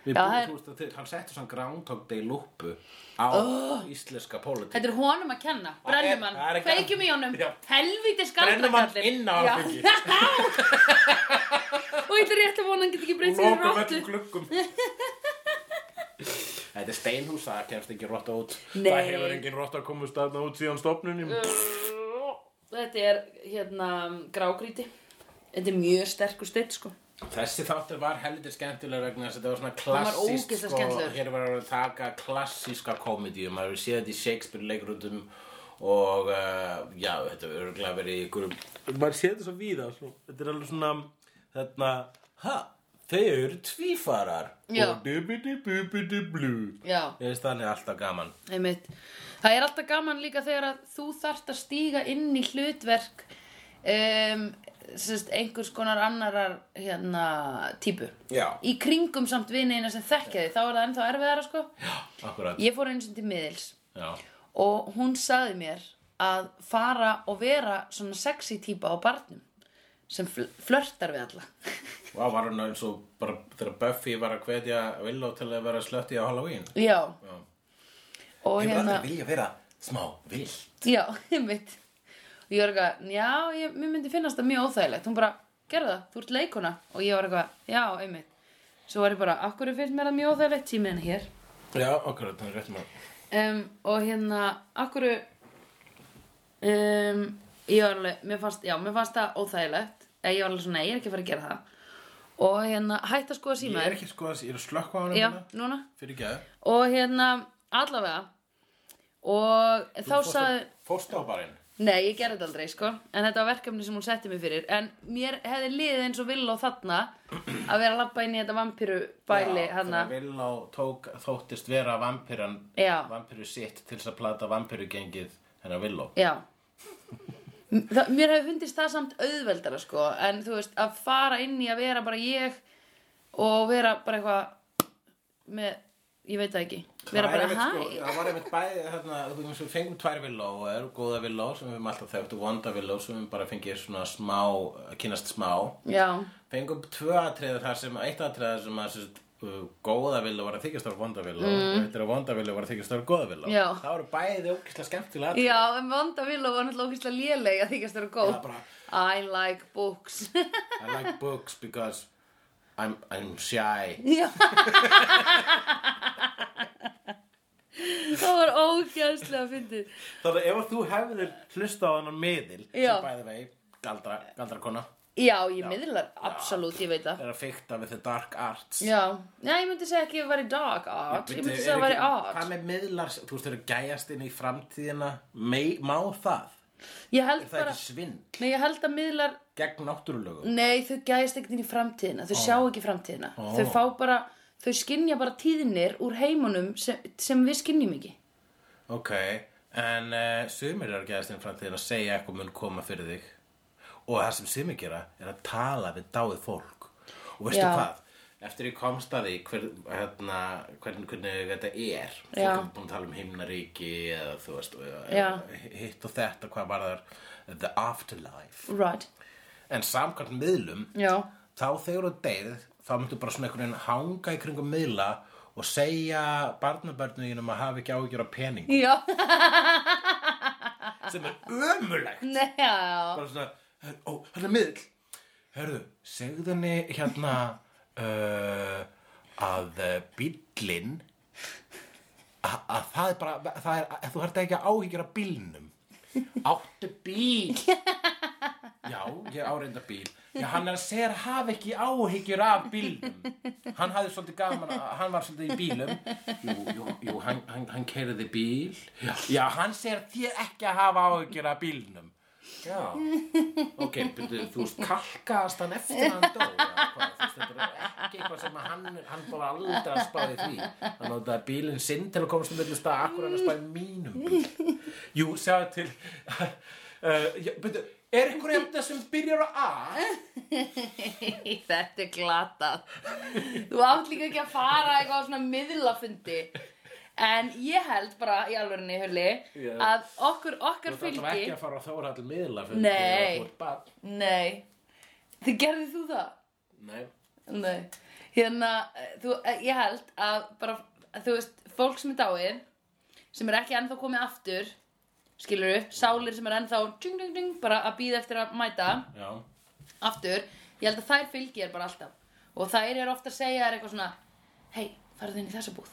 Speaker 2: Við
Speaker 1: Já,
Speaker 2: búum,
Speaker 1: það er-
Speaker 2: þú veist, að þeir, hann settur svona Groundhog Day lúpu á íslenska pólitík
Speaker 1: þetta er honum að kenna Brennum hann,
Speaker 2: það er ekki-
Speaker 1: kveikjum í honum
Speaker 2: Já.
Speaker 1: Helvítis
Speaker 2: Brennum hann
Speaker 1: galdrakallir
Speaker 2: inn á alþingi.
Speaker 1: Og ég er rétt að vona hann get ekki breytt sér í
Speaker 2: Lokum
Speaker 1: rottu
Speaker 2: öllum gluggum Þetta er steinhús, það kemst ekki rotta út
Speaker 1: Nei.
Speaker 2: Það hefur engin rotta komið staðna út síðan stofnunum
Speaker 1: Þetta er hérna grágríti Þetta er mjög sterkur steitt sko
Speaker 2: Þessi þáttur var heldur skemmtilega vegna þess að þetta var svona
Speaker 1: var
Speaker 2: klassísk
Speaker 1: ógeðslega skemmtilegur.
Speaker 2: Hér var að taka klassíska komedíu maður hefur séð þetta í Shakespeare leikrutum og uh, já, þetta er örgulega verið í ykkur maður séð þetta svo víða svo. þetta er alveg svona þarna, ha, þau eru tvífarar
Speaker 1: Já.
Speaker 2: og dubidi bubidi blu
Speaker 1: Já.
Speaker 2: ég veist þannig alltaf gaman
Speaker 1: Einmitt. Það er alltaf gaman líka þegar að þú þarft að stíga inn í hlutverk um, sérst, einhvers konar annarar hérna, típu.
Speaker 2: Já.
Speaker 1: Í kringum samt vinina sem þekkja því, þá er það ennþá erfiðara sko.
Speaker 2: akkurat,
Speaker 1: Ég fór einu sinni til miðils
Speaker 2: já,
Speaker 1: og hún sagði mér að fara og vera svona sexy típa á barnum sem fl flörtar við alla.
Speaker 2: og var hún eins og bara þegar Buffy var að hvetja Willow til að vera slötti á Halloween
Speaker 1: Já.
Speaker 2: Já.
Speaker 1: Og
Speaker 2: hefur
Speaker 1: hérna...
Speaker 2: aldrei vilja vera smá vill
Speaker 1: Já, einmitt. Og ég var eitthvað, já, ég, mér myndi finnast það mjög óþægilegt. Hún bara, gerðu það, þú ert leikuna. Og ég var eitthvað, já, einmitt. Svo var ég bara, akkur finnst mér það mjög óþægilegt tímiðan hér.
Speaker 2: Já, okkur, það er rétt mál
Speaker 1: Um, og hérna, akkur, um, ég var alveg, mér fannst, já, mér fannst það óþægilegt. Eða ég var alveg svona, nei, ég er ekki að fara að gera það. Og hérna, hætt að skoða
Speaker 2: Ég
Speaker 1: síma
Speaker 2: er ekki sko að, ég er að slökka á hann
Speaker 1: Já, núna.
Speaker 2: Fyrir ekki að
Speaker 1: Og hérna, allavega. Og þá sagði...
Speaker 2: Fórstu á barinn
Speaker 1: Nei, ég gerði þetta aldrei, sko En þetta var verkefni sem hún setti mig fyrir En mér hefði liðið eins og vill á þarna Að vera að labba inn í þetta vampíru bæli
Speaker 2: Já,
Speaker 1: hana
Speaker 2: þegar Villá tók, þóttist vera vampíran
Speaker 1: Já.
Speaker 2: Vampíru sitt til þess að plata vampírugengið hennar Villó
Speaker 1: Já það, Mér hefði fundist það samt auðveldara, sko En þú veist, að fara inn í að vera bara ég Og vera bara eitthvað Með, ég veit það ekki Vera bara, hæ
Speaker 2: Það var einmitt bæði þarna þú veist, Við fengum tvær Villó og eru góða Villó sem við höfum alltaf þekkt og vonda Villó sem við bara fengið svona smá, kynast smá
Speaker 1: Já,
Speaker 2: fengum tvö atriði þar sem eitt atriði þar sem að sem sagt, uh, góðavilla var að þykjast ára vondavilla mm. og heitir að vondavilla var að þykjast ára góðavilla
Speaker 1: Já.
Speaker 2: það voru bæði ókislega skemmtilega atriði.
Speaker 1: Já, en Vonda Villa var náttúrulega ógeðslega léleg að þykast vera góð.
Speaker 2: Já, bara-
Speaker 1: I like books.
Speaker 2: I like books because I'm, I'm shy
Speaker 1: Já. það var ógeðslega fyndið.
Speaker 2: Þannig að ef að þú hefðir hlustað á hennar miðil
Speaker 1: Já.
Speaker 2: sem bæði vei, galdra, galdra kona
Speaker 1: Já, ég miðlar, absolutt, ég veit það.
Speaker 2: er að fykta við the dark arts
Speaker 1: Já. Já, ég myndi segja ekki að það væri dark art, ég
Speaker 2: Bíddu,
Speaker 1: myndi
Speaker 2: er
Speaker 1: segja að það væri
Speaker 2: ekki- Hvað
Speaker 1: art.
Speaker 2: með miðlar, þú veist, eru gæjast inn í framtíðina Mei, Má það?
Speaker 1: Ég
Speaker 2: Er
Speaker 1: held
Speaker 2: það
Speaker 1: bara,
Speaker 2: ekki svinn?
Speaker 1: nei, ég held að miðlar,
Speaker 2: Gegn náttúrulögum?
Speaker 1: nei, þau gæðist ekkert inn í framtíðina, þau sjá ekki framtíðina. Þau fá bara, þau skinja bara tíðinir úr heimunum sem, sem við skinjum ekki.
Speaker 2: Ok, en uh, sumir eru að gæjast inn í framtíðina segja eitthvað mun koma fyrir þig og það sem sumir gera er að tala við dáið fólk og veistu
Speaker 1: Já.
Speaker 2: hvað? Eftir ég komst að því hver, hérna, hvern, hvernig þetta er fólk
Speaker 1: Já.
Speaker 2: er búin að tala um himnaríki eða þú veist
Speaker 1: Já.
Speaker 2: hitt og þetta hvað var þar the afterlife
Speaker 1: Right.
Speaker 2: en samkvæmt miðlum
Speaker 1: Já.
Speaker 2: þá þegar þú deyð þá myndu bara svona einhvern veginn hanga í kringum miðla og segja barnabörnuðinum að hafa ekki áhyggjur af pening
Speaker 1: Já,
Speaker 2: sem er ömulegt
Speaker 1: nei, já,
Speaker 2: bara svona, her- ó, hann er miðl herðu, segðu henni hérna uh, að eh, bíllinn að að það er bara það er, að þú hært ekki að áhyggjur af bílnum áttu bíl já, ég áreinda bíl já, hann er að segja að hafa ekki áhyggjur af bílnum hann hafði svolítið gaman að, hann var svolítið í bílum jú, jú, jú hann, hann, hann keiriði bíl já. já, hann segir þér ekki að hafa áhyggjur af bílnum já, ok, byrju, þú veist kalkaðast hann eftir að hann dó eða hvað, þú veist, þetta er ekki eitthvað sem að hann, hann bara aldrei að spáði því hann notaði bílinn sinn til að komast um milli stað akkur hann að spáði mínum bíl jú, sjáðu til uh, já, byrju, er einhver eftir sem byrjar á A
Speaker 1: þetta er glatað. Þú átt líka ekki að fara eitthvað á svona miðlafundi. En ég held bara í alvörinni, Hulli,
Speaker 2: Já.
Speaker 1: að okkur, okkar
Speaker 2: Þú ert alltaf ekki
Speaker 1: fylgi...
Speaker 2: að fara á Þórhall miðla fyrir
Speaker 1: Nei.
Speaker 2: þegar þú ert barn.
Speaker 1: Nei, þið gerðið þú það?
Speaker 2: Nei.
Speaker 1: Nei, hérna, eh, þú, eh, ég held að bara, þú veist, fólk sem er dáið, sem er ekki ennþá komið aftur, skilur sálir sem er ennþá ding, ding, ding, bara að býða eftir að mæta,
Speaker 2: Já.
Speaker 1: aftur, ég held að þær fylgi er bara alltaf og þær eru ofta að segja þær eitthvað svona hei, farðu inn í þessa búð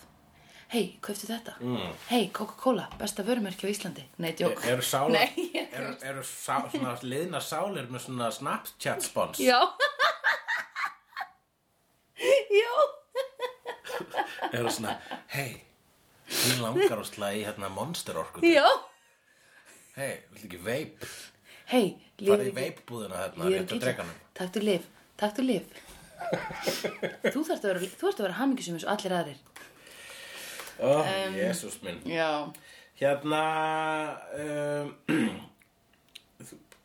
Speaker 1: hei, kauftu þetta mm. hei, Coca-Cola, besta vörumerki á Íslandi nei, djók
Speaker 2: Eru sálar,
Speaker 1: Nei, ég-
Speaker 2: eru, eru sá, svona liðna sálir með svona Snapchat spons?
Speaker 1: já já,
Speaker 2: Eru svona, hei, ég langar að slæði hérna monster orku.
Speaker 1: já
Speaker 2: Hei, viltu ekki veip?
Speaker 1: hei,
Speaker 2: Farið í
Speaker 1: ekki-
Speaker 2: veip búðina hérna,
Speaker 1: ég er
Speaker 2: rétt
Speaker 1: ekki
Speaker 2: að dreganum.
Speaker 1: taktu lif, taktu lif þú þarft að vera, þú þarft að vera hamingjusum eins og allir aðrir
Speaker 2: Ó, oh, jesús minn.
Speaker 1: já,
Speaker 2: Hérna, um,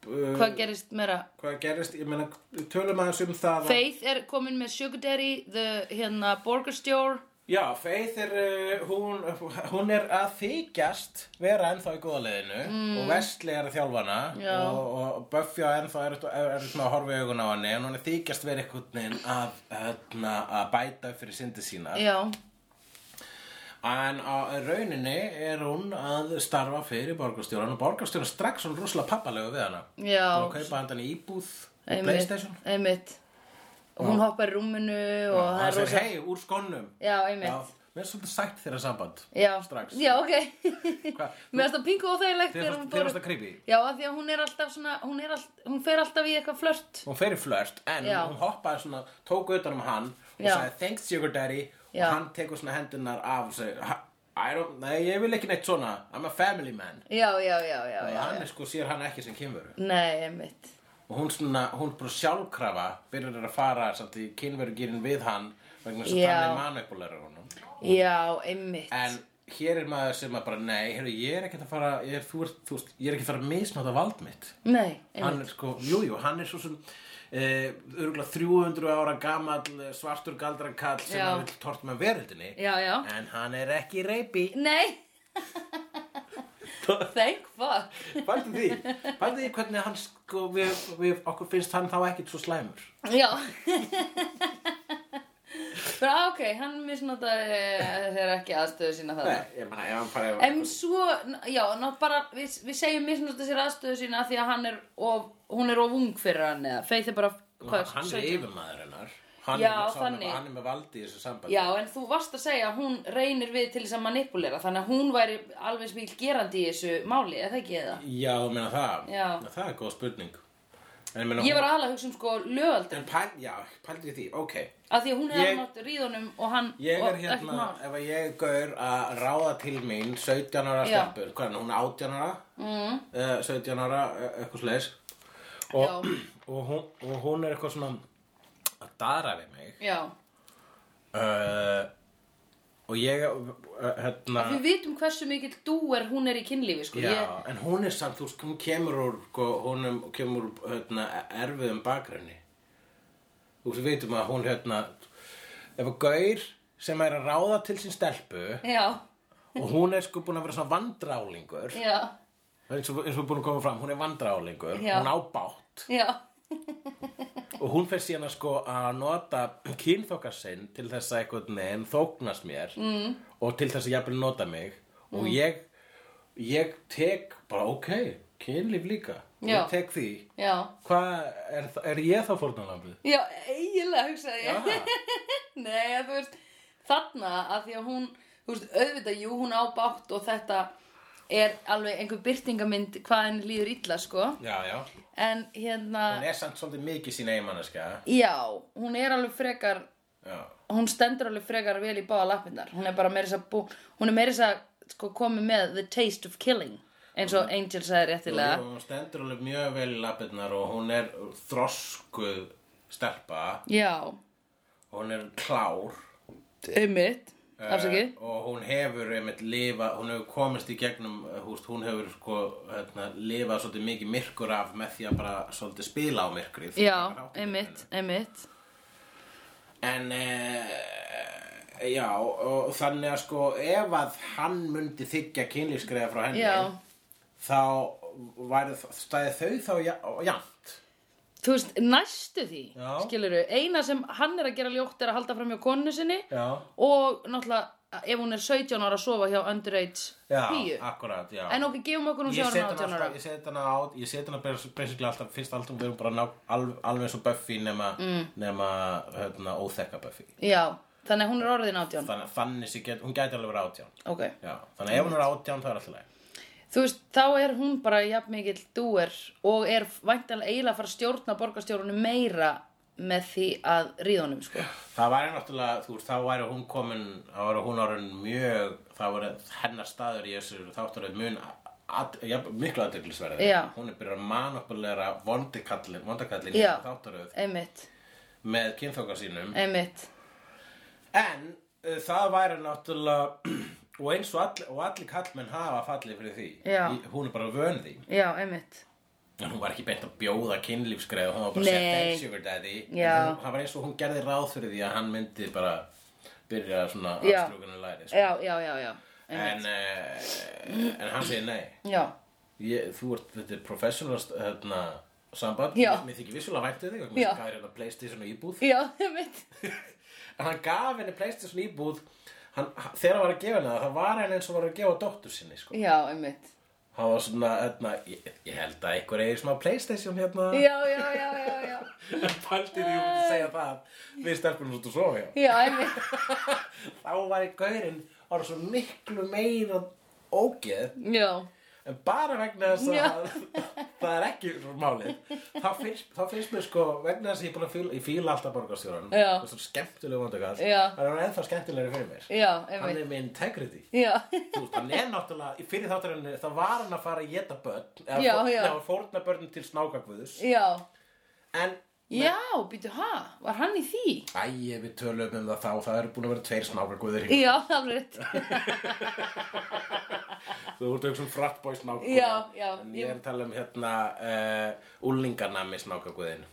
Speaker 1: hvað gerist meira
Speaker 2: hvað gerist, ég meina, tölum aðeins um það að...
Speaker 1: Faith er komin með Sugar Daddy the, hérna, Borgerstjór
Speaker 2: Já, Faith er, uh, hún, hún er að þykjast vera ennþá í góða leiðinu og Wesley er að þjálfa hana
Speaker 1: Mm. Já.
Speaker 2: og, og Buffy á ennþá er, er, er svona að horfa í augun á henni en hún er að þykjast vera einhvern veginn að, hérna, að bæta fyrir syndi sína
Speaker 1: já,
Speaker 2: en á rauninni er hún að starfa fyrir borgarstjóran og borgarstjóran strax hún rosalega pappalegu við hana
Speaker 1: Já,
Speaker 2: og kaupa hann í íbúð
Speaker 1: einmitt,
Speaker 2: Playstation
Speaker 1: einmitt. Og hún hoppar í rúminu og
Speaker 2: og
Speaker 1: það
Speaker 2: hann
Speaker 1: er
Speaker 2: segir
Speaker 1: rosa
Speaker 2: hei úr skonnum
Speaker 1: Já,
Speaker 2: Já,
Speaker 1: einmitt
Speaker 2: mér er svolítið sætt þeirra samband
Speaker 1: Já,
Speaker 2: strax
Speaker 1: Já, ok
Speaker 2: Hva,
Speaker 1: Mér finnst það pingu óþægilegt
Speaker 2: Þér
Speaker 1: þegar
Speaker 2: fannst-
Speaker 1: hún
Speaker 2: þér
Speaker 1: fór
Speaker 2: fannst það creepy?
Speaker 1: Já, af því að hún er alltaf svona Hún, er all, hún fer alltaf í eitthvað flört
Speaker 2: hún fer í flört en
Speaker 1: Já.
Speaker 2: hún hoppaði svona, tók utan um hann og
Speaker 1: Já.
Speaker 2: sagði thanks sugar daddy
Speaker 1: Já.
Speaker 2: og hann tekur svona hendunar af og segir "Ha- I don't, nei ég vil ekki neitt svona I'm a family man
Speaker 1: Já, já, já, já,
Speaker 2: og
Speaker 1: já.
Speaker 2: hann er sko sér hann ekki sem kynveru
Speaker 1: Nei, einmitt
Speaker 2: og hún svona, hún bara sjálfkrafa byrjar að fara samt í kynverugýrin við hann vegna þess að
Speaker 1: Já.
Speaker 2: hann er manipulæra honum
Speaker 1: Já, einmitt
Speaker 2: en hér er maður sem að bara nei, heyrðu, ég er ekki að fara ég er, þú, er, þú, veist, ég er ekki að fara að misnáta vald mitt
Speaker 1: Nei,
Speaker 2: hann
Speaker 1: einmitt
Speaker 2: er sko, jújú, jú, hann er svo sem eh, örgulega 300 ára gamall eh, svartur galdrakall sem
Speaker 1: Já.
Speaker 2: hann vil tort með veröldinni
Speaker 1: Já, já
Speaker 2: en hann er ekki reypi
Speaker 1: Nei Thank fuck
Speaker 2: bæltu því, bæltu því hvernig hann sko, við, við, okkur finnst hann þá ekkit svo slæmur
Speaker 1: Já Bara, "Ah, ok, hann misnotaði eh, þegar ekki aðstöðu sína það.
Speaker 2: Nei, ég meina, ef hann bara...
Speaker 1: En svo, já, ná bara, við, við segjum misnóta sér aðstöðu sína af því að hann er of, hún er of ung fyrir hann eða Faith er bara, hvað,
Speaker 2: Hann er
Speaker 1: 17?
Speaker 2: yfirmaður hennar. Hann
Speaker 1: Já,
Speaker 2: er með- sá hann-
Speaker 1: þannig.
Speaker 2: Hann er með valdi í þessu sambandi.
Speaker 1: Já, en þú varst að segja að hún reynir við til þess að manipulera, þannig að hún væri alveg smíl gerandi í þessu máli, eða ekki eða?
Speaker 2: Já, þú meina það.
Speaker 1: Já.
Speaker 2: Það er góð spurning. En ég meina,
Speaker 1: Ég var aðalega að hugsa um sko lögaldur,
Speaker 2: En pæl, já, pældi því, ok.
Speaker 1: af því að hún
Speaker 2: Ég-
Speaker 1: hefði nátt ríðunum og hann,
Speaker 2: Ég
Speaker 1: og
Speaker 2: er hérna,
Speaker 1: ekkert mál.
Speaker 2: ef að ég gaur að ráða til mín 17 ára
Speaker 1: Já.
Speaker 2: stelpur, hvað er hún, 18 ára? Mm. 17 ára, eh, eitthvað slegis. Og, og, hún, og hún er eitthvað svona að dara við mig.
Speaker 1: Já,
Speaker 2: Uh, og ég, uh, hérna...
Speaker 1: við vitum hversu mikill dúer hún er í kynlífi, sko.
Speaker 2: Já,
Speaker 1: Ég,
Speaker 2: en hún er samt, þú veist, hún kemur úr, sko, hún er- kemur úr, hérna, erfiðum bakgrunni. Þú veist, við veitum að hún, hérna, ef að gaur sem er að ráða til sín stelpu
Speaker 1: já,
Speaker 2: og hún er sko búin að vera svona vandrálingur,
Speaker 1: já,
Speaker 2: eins og, eins og búin að koma fram, hún er vandrálingur,
Speaker 1: Já.
Speaker 2: hún á bátt
Speaker 1: já,
Speaker 2: og hún fer síðan að sko að nota kynþokka sinn til þess að eitthvað neginn þóknast mér mm. og til þess að jafnvel nota mig og ég, ég tek bara ok, kynlíf líka
Speaker 1: Já.
Speaker 2: ég tek því
Speaker 1: já.
Speaker 2: hvað, er, þa- er ég þá fórnarlambið?
Speaker 1: Já, eiginlega hugsaði ég.
Speaker 2: Já,
Speaker 1: Nei, að þú veist, þarna að því að hún, þú veist, auðvitað, jú, hún á bátt og þetta er alveg einhver byrtingamynd hvað henni líður illa, sko.
Speaker 2: já, já
Speaker 1: En hérna,
Speaker 2: hún er samt svolítið mikið sín eiginmanneska
Speaker 1: já, hún er alveg frekar,
Speaker 2: já,
Speaker 1: hún stendur alveg frekar vel í báða lappirnar. Hún er bara meira þess að bú, hún er meira þess að sko komið með the taste of killing, eins
Speaker 2: Mm.
Speaker 1: og Angel sagði réttilega.
Speaker 2: og hún stendur alveg mjög vel í lappirnar og hún er þroskuð stelpa
Speaker 1: Já,
Speaker 2: hún er klár
Speaker 1: einmitt, afsakið.
Speaker 2: Eh, og hún hefur einmitt lifa, hún hefur komist í gegnum eh, húst, hún hefur sko hérna, lifað svolítið mikið myrkur af með því að bara svolítið spila á myrkrið
Speaker 1: Já, einmitt,
Speaker 2: Eh.
Speaker 1: einmitt.
Speaker 2: en e, já, og, og þannig að sko ef að hann mundi þykja kynlífskreiða frá henni
Speaker 1: Já.
Speaker 2: þá væri þ- stæði þau þá ja- jafnt
Speaker 1: þú veist, næstu því
Speaker 2: Já.
Speaker 1: skilurðu, eina sem hann er að gera ljótt er að halda fram hjá konu sinni
Speaker 2: já,
Speaker 1: og náttúrulega ef hún er 17 ára að sofa hjá underage
Speaker 2: já,
Speaker 1: píu
Speaker 2: akkurat já.
Speaker 1: en ok, gefum okkur hún
Speaker 2: Ég set
Speaker 1: sjára
Speaker 2: hana
Speaker 1: 18 ára
Speaker 2: alltaf, ég set hana á, ég set hana bas- basically alltaf, fyrst alltaf við erum bara ná, alveg, alveg eins og Buffy nema,
Speaker 1: Mm.
Speaker 2: nema hérna, óþekka Buffy.
Speaker 1: já, þannig að hún er orðin 18
Speaker 2: Þannig, þannig sé get, hún gæti alveg verið átján.
Speaker 1: ok,
Speaker 2: Já,
Speaker 1: Mm.
Speaker 2: þannig að ef hún er átján þá er alltaf leið.
Speaker 1: þú veist, þá er hún bara jafn mikill dúer og er væntanlega eiginlega að fara að stjórna borgarstjórunum meira með því að ríðunum sko.
Speaker 2: Það væri náttúrulega, þú veist, þá væri hún komin, þá væri hún orðin mjög, það væri hennar staður í þessu þáttaröð mun At, ja, miklu aðdeglisverði
Speaker 1: Já.
Speaker 2: hún er byrjað að manopulera vondakallin vondakallin í
Speaker 1: Já.
Speaker 2: þessu þáttaröð
Speaker 1: einmitt,
Speaker 2: með kynþóka sínum
Speaker 1: einmitt
Speaker 2: En uh, það væri náttúrulega og eins og, all, og allir kallmenn hafa fallið fyrir því
Speaker 1: Já.
Speaker 2: Í, hún er bara vön því
Speaker 1: já, einmitt
Speaker 2: en hún var ekki beint að bjóða kynlífsgreð hún var bara
Speaker 1: Nei.
Speaker 2: að setja einn sugar daddy
Speaker 1: Já.
Speaker 2: En hún, það var eins og hún gerði ráð fyrir því að hann myndi bara byrja svona
Speaker 1: Já. Eh,
Speaker 2: afstrúkanu læri sko.
Speaker 1: já, já, já, já,
Speaker 2: en, uh, en hann segir nei
Speaker 1: já.
Speaker 2: Ég, þú ert þetta er professional hérna, samband,
Speaker 1: Já.
Speaker 2: mér þykir vissulega væntu þig og
Speaker 1: Já.
Speaker 2: mér skæri hérna Playstation og íbúð
Speaker 1: já, einmitt
Speaker 2: En hann gaf henni Playstation íbúð hann, h- Þegar hann var að gefa henni það Það var henni eins og var að gefa dóttur sinni sko.
Speaker 1: já, einmitt
Speaker 2: Hann var svona, hérna, ég, ég held að einhver eigi smá Playstation hérna
Speaker 1: já, já, já, já, já
Speaker 2: Paldi því hún myndi segja það Við stelpunum svo að sofa hjá
Speaker 1: Já, einmitt
Speaker 2: Þá var í gaurinn var svo miklu meira ógeð
Speaker 1: Já,
Speaker 2: En bara vegna þess
Speaker 1: Já.
Speaker 2: að það er ekki svo málið Þá finnst, þá finnst mér sko vegna þess að ég er búin að fíla, ég fíla alltaf borgarstjóran
Speaker 1: Já.
Speaker 2: Það er svo skemmtileg vondakall
Speaker 1: Já.
Speaker 2: Það er hann ennþá skemmtilegri fyrir mér
Speaker 1: já,
Speaker 2: Hann
Speaker 1: einmitt
Speaker 2: er með integrity
Speaker 1: Já,
Speaker 2: Þú veist, hann er náttúrulega, í fyrir þáttarinu, það var hann að fara að geta börn, eða
Speaker 1: Já,
Speaker 2: fór-
Speaker 1: já.
Speaker 2: eða fórna börnum til snákakvöðus,
Speaker 1: já
Speaker 2: en,
Speaker 1: Já, býtu, ha, var hann í því?
Speaker 2: æ, ef við tölum um það þá, það eru búin að vera tveir snákakvöður hingað.
Speaker 1: Já, alveg rétt
Speaker 2: Þú ert auðvitað um frattbói snákakvöður.
Speaker 1: Já, já,
Speaker 2: eh, En ég er að tala um hérna, uh, úlingarnami snákakvöðin.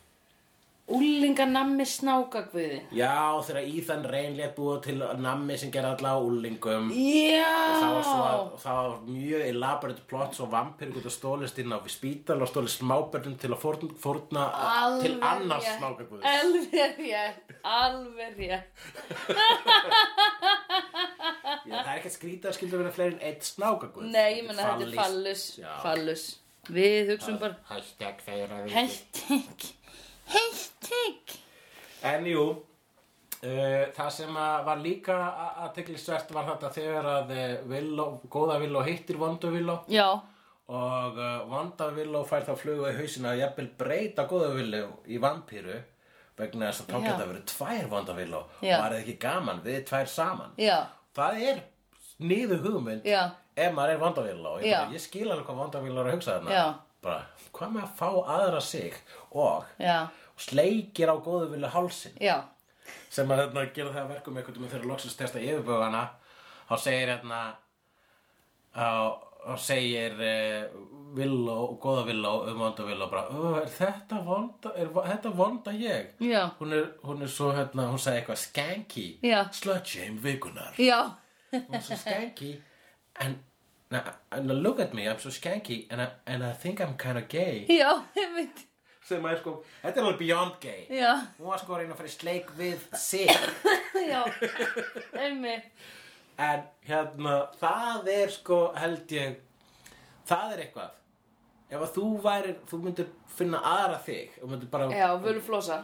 Speaker 1: Úlinganammi snákagvöðin
Speaker 2: Já, þegar Íðan reynlega búið til nammi sem gerði alla á úlingum
Speaker 1: Já
Speaker 2: Það var, svo, það var mjög elaborate plot svo vampir geta stólist inn á við spítal og stólist smábörnum til að forn, forna
Speaker 1: Alveg
Speaker 2: til annars
Speaker 1: rétt.
Speaker 2: smákaguðs.
Speaker 1: Alveg rétt, alveg rétt
Speaker 2: Það er ekki að skrýta að skilja vera fleiri en eitt snákaguð.
Speaker 1: Nei, ég menna þetta er fallus Fallus Við hugsum bara
Speaker 2: Hashtag þeirra við.
Speaker 1: Heiltík Heiltík
Speaker 2: En jú, uh, það sem að var líka aðteglisvert var þetta þegar að eh, Willow, góða Villó hittir vondu Villó
Speaker 1: Já
Speaker 2: og uh, vonda Villó fær þá fluga í hausina að jafnvel breyta góða Villó í vampíru vegna þess að þá
Speaker 1: Já.
Speaker 2: geta verið tvær vonda Villó og
Speaker 1: Já.
Speaker 2: það er ekki gaman við tvær saman.
Speaker 1: Já
Speaker 2: Það er nýðu hugmynd
Speaker 1: Já.
Speaker 2: ef maður er vondavíla og ég,
Speaker 1: Já.
Speaker 2: bara, ég skil alveg hvað vondavíla er að hugsa þarna.
Speaker 1: Já.
Speaker 2: Bara, hvað með að fá aðra sig og
Speaker 1: Já
Speaker 2: sleikir á góðu vilja hálsin
Speaker 1: Já
Speaker 2: sem að hérna, gera það að verkum eitthvað með þeirra loksins testa yfirbögana þá segir hérna þá þá segir uh, Villó, góða Villó um vonda Villó bara, "Ö, er þetta vonda er vo- þetta vonda ég
Speaker 1: Já.
Speaker 2: hún er, hún er svo hérna, hún sagði eitthvað skanky,
Speaker 1: Já.
Speaker 2: slut shame vikunar
Speaker 1: Já
Speaker 2: I'm so skanky and, and, and look at me, I'm so skanky and I, and I think I'm kind of gay
Speaker 1: Já, ég veit
Speaker 2: sem er sko, þetta er alveg beyond gay
Speaker 1: Já
Speaker 2: hún var sko að reyna að fara í sleik við sig
Speaker 1: Já Einmitt
Speaker 2: en hérna, það er sko held ég það er eitthvað ef að þú værir, þú myndir finna aðra þig og myndir bara,
Speaker 1: Já, völuflosa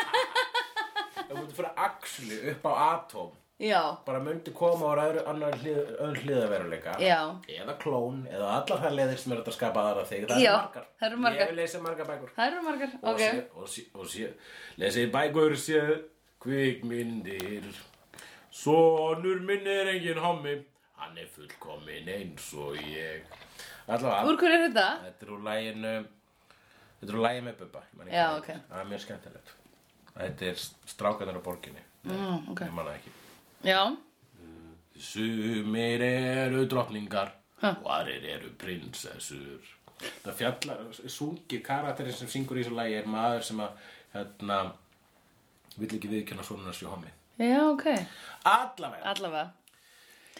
Speaker 2: þú myndir fara axlu upp á atóm
Speaker 1: Já
Speaker 2: bara myndi koma úr öðru annar hlið, öðru hliðaveruleika
Speaker 1: Já.
Speaker 2: eða klón eða allar þær leiðir sem eru hægt að skapa aðra þig það
Speaker 1: Já,
Speaker 2: eru margar
Speaker 1: það eru margar.
Speaker 2: ég vil lesa margar bækur
Speaker 1: Það eru margar
Speaker 2: og,
Speaker 1: Ok
Speaker 2: sé, og, sé, og sé, lesi bækur sé kvikmyndir sonur minn er engin hommi hann er fullkomin eins og ég allavega
Speaker 1: Úr hverju er þetta?
Speaker 2: þetta er úr læginu þetta er úr lægi með Bubba ég man ekki
Speaker 1: Já,
Speaker 2: hvað
Speaker 1: ok.
Speaker 2: heitir. það er mjög skemmtilegt þetta er strákanar á borginni
Speaker 1: Mm, ok
Speaker 2: ég manna ekki
Speaker 1: Já
Speaker 2: Sumir eru drottningar
Speaker 1: Ha.
Speaker 2: og aðrir eru prinsessur. Það fjallar, sungið karakterinn sem syngur í þessu lagi er maður sem að, hérna, vill ekki viðkjöna svona sér homið.
Speaker 1: Já, ok
Speaker 2: Allavega.
Speaker 1: Allavega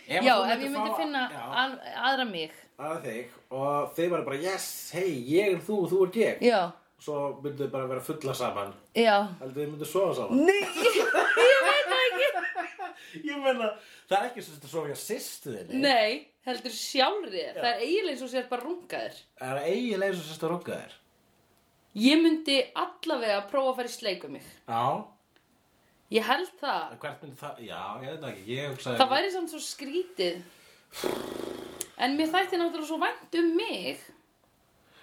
Speaker 2: Ef
Speaker 1: Já,
Speaker 2: þú
Speaker 1: ef ég
Speaker 2: myndir
Speaker 1: myndi
Speaker 2: fá-
Speaker 1: finna
Speaker 2: Já,
Speaker 1: að, aðra mig
Speaker 2: að þig og þeir var bara, yes, hei, ég er þú og þú er ég.
Speaker 1: Já,
Speaker 2: Svo myndu þau bara vera fulla saman.
Speaker 1: já
Speaker 2: Heldur þau myndu sofa saman.
Speaker 1: Nei, ég veit það ekki
Speaker 2: Ég meina, það er ekki sem þetta sofa hjá sýstu þinni.
Speaker 1: Nei, heldur sjálfri þér Það er eiginlega eins og sér bara rungaðir
Speaker 2: Það er eiginlega eins og sýstu að runga þér.
Speaker 1: Ég myndi allavega að prófa að fara í sleik um mig
Speaker 2: Já.
Speaker 1: Ég held það
Speaker 2: Hvert myndi það, já, ég veit það ekki, ég hugsaði
Speaker 1: Það væri samt svo skrítið En mér þætti náttúrulega svo vænt um mig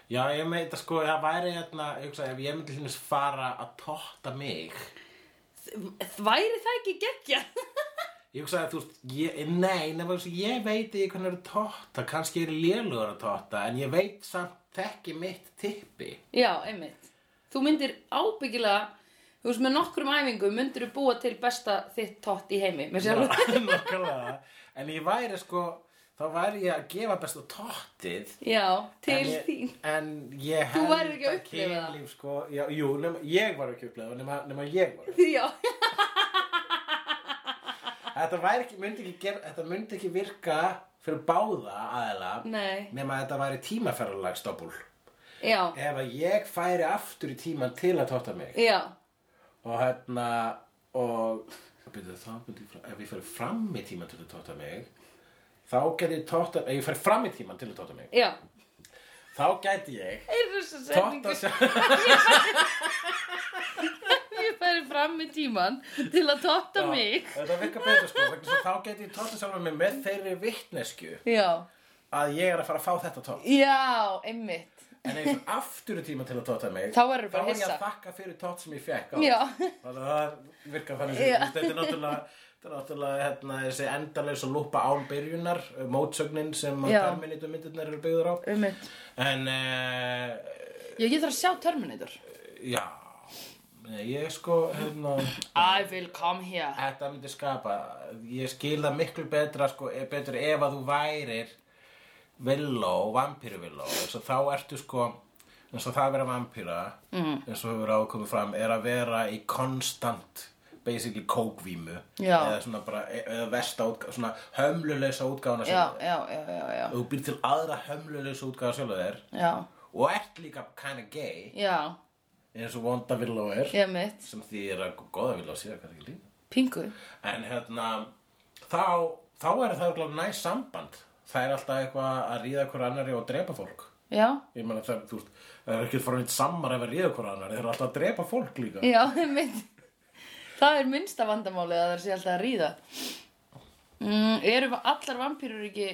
Speaker 2: Já, ég meit að sko, það væri hérna, ég hugsaði, ef ég myndi hlunis fara að totta mig
Speaker 1: Þ- Væri það ekki geggja?
Speaker 2: Ég hugsaði, þú veist, ég, nei, nefnum þess að ég veit ekki hvernig er að totta kannski er ég lélugur að totta, en ég veit samt þekki mitt tippi
Speaker 1: Já, einmitt Þú myndir ábyggilega Þú veist, með nokkrum æfingum myndir þú búa til besta þitt tótt í heimi Mér sjálf
Speaker 2: Nákvæmlega En ég væri sko, þá væri ég að gefa besta tottið
Speaker 1: Já, til
Speaker 2: en ég,
Speaker 1: þín
Speaker 2: En ég
Speaker 1: Þú
Speaker 2: held
Speaker 1: værir ekki að upplifa það.
Speaker 2: kynlíf, sko, já, Jú, nema, ég var ekki að upplifa, það, nema, nema ég var
Speaker 1: Já,
Speaker 2: Þetta væri ekki, myndi ekki, ger, þetta myndi ekki virka fyrir báða aðeila
Speaker 1: Nei.
Speaker 2: nema að þetta væri tímaferðalagsdoppul
Speaker 1: já,
Speaker 2: ef að ég færi aftur í tíman til að tóta mig
Speaker 1: já
Speaker 2: og hérna og byrja, þá, myndi ég, fra- ef ég færi fram í tíman til að tóta mig þá gæti ég tóta ef ég færi fram í tíman til að tóta mig
Speaker 1: Já,
Speaker 2: þá gæti ég
Speaker 1: er þessu setningu
Speaker 2: tóta sér
Speaker 1: Ég færi fram í tíman til að totta mig
Speaker 2: þetta virka betur sko vegna þess að þá gæti ég tóta sjálfur mig með þeirri vittnesku
Speaker 1: Já,
Speaker 2: að ég er að fara að fá þetta tótt
Speaker 1: já, einmitt
Speaker 2: En ef ég fer aftur í tíma til að tóta mig
Speaker 1: Þá verður bara
Speaker 2: þá er ég
Speaker 1: hissa.
Speaker 2: að þakka fyrir tótt sem ég fekk á
Speaker 1: Já,
Speaker 2: Þannig að það virkar þannig
Speaker 1: Já.
Speaker 2: sem Þetta er náttúrulega, þetta er náttúrulega hérna, þessi endalega svo lúpa án byrjunar eh, Mótsögnin sem að
Speaker 1: Já.
Speaker 2: Terminator myndirnar eru byggður á
Speaker 1: einmitt
Speaker 2: En uh,
Speaker 1: Já, ég þarf að sjá Terminator
Speaker 2: já Nei, Ég sko hérna,
Speaker 1: I will come here
Speaker 2: Þetta myndi skapa Ég skil það miklu betra sko, eh, betur ef að þú værir Villó, vampíru Villó Þá ertu sko eins og það að vera vampíra mm. eins og hefur ákomið fram er að vera í konstant basically kókvímu
Speaker 1: Já.
Speaker 2: eða svona bara e, eða versta útgáð svona hömluleysa útgáðan
Speaker 1: já,
Speaker 2: að sjálfa
Speaker 1: já, já, já, já,
Speaker 2: þú býr til aðra hömluleysa útgáðan að sjálfa þér
Speaker 1: já,
Speaker 2: og ert líka kind of gay
Speaker 1: já,
Speaker 2: eins og Wanda Villó er
Speaker 1: ég mitt,
Speaker 2: sem því er að góða Villó sé kannski líka
Speaker 1: pingu,
Speaker 2: En hérna, þá, þá er það eitthvað næst samband. Það er alltaf eitthvað að ríða hver annari og drepa fólk.
Speaker 1: já,
Speaker 2: Ég meina það, þú veist, það er ekki frá nýtt sammar ef að ríða hver annari, þeir eru alltaf að drepa fólk líka.
Speaker 1: já, ég mitt, það er minnsta vandamálið að það sé alltaf að ríða. Mm, eru allar vampýrur ekki,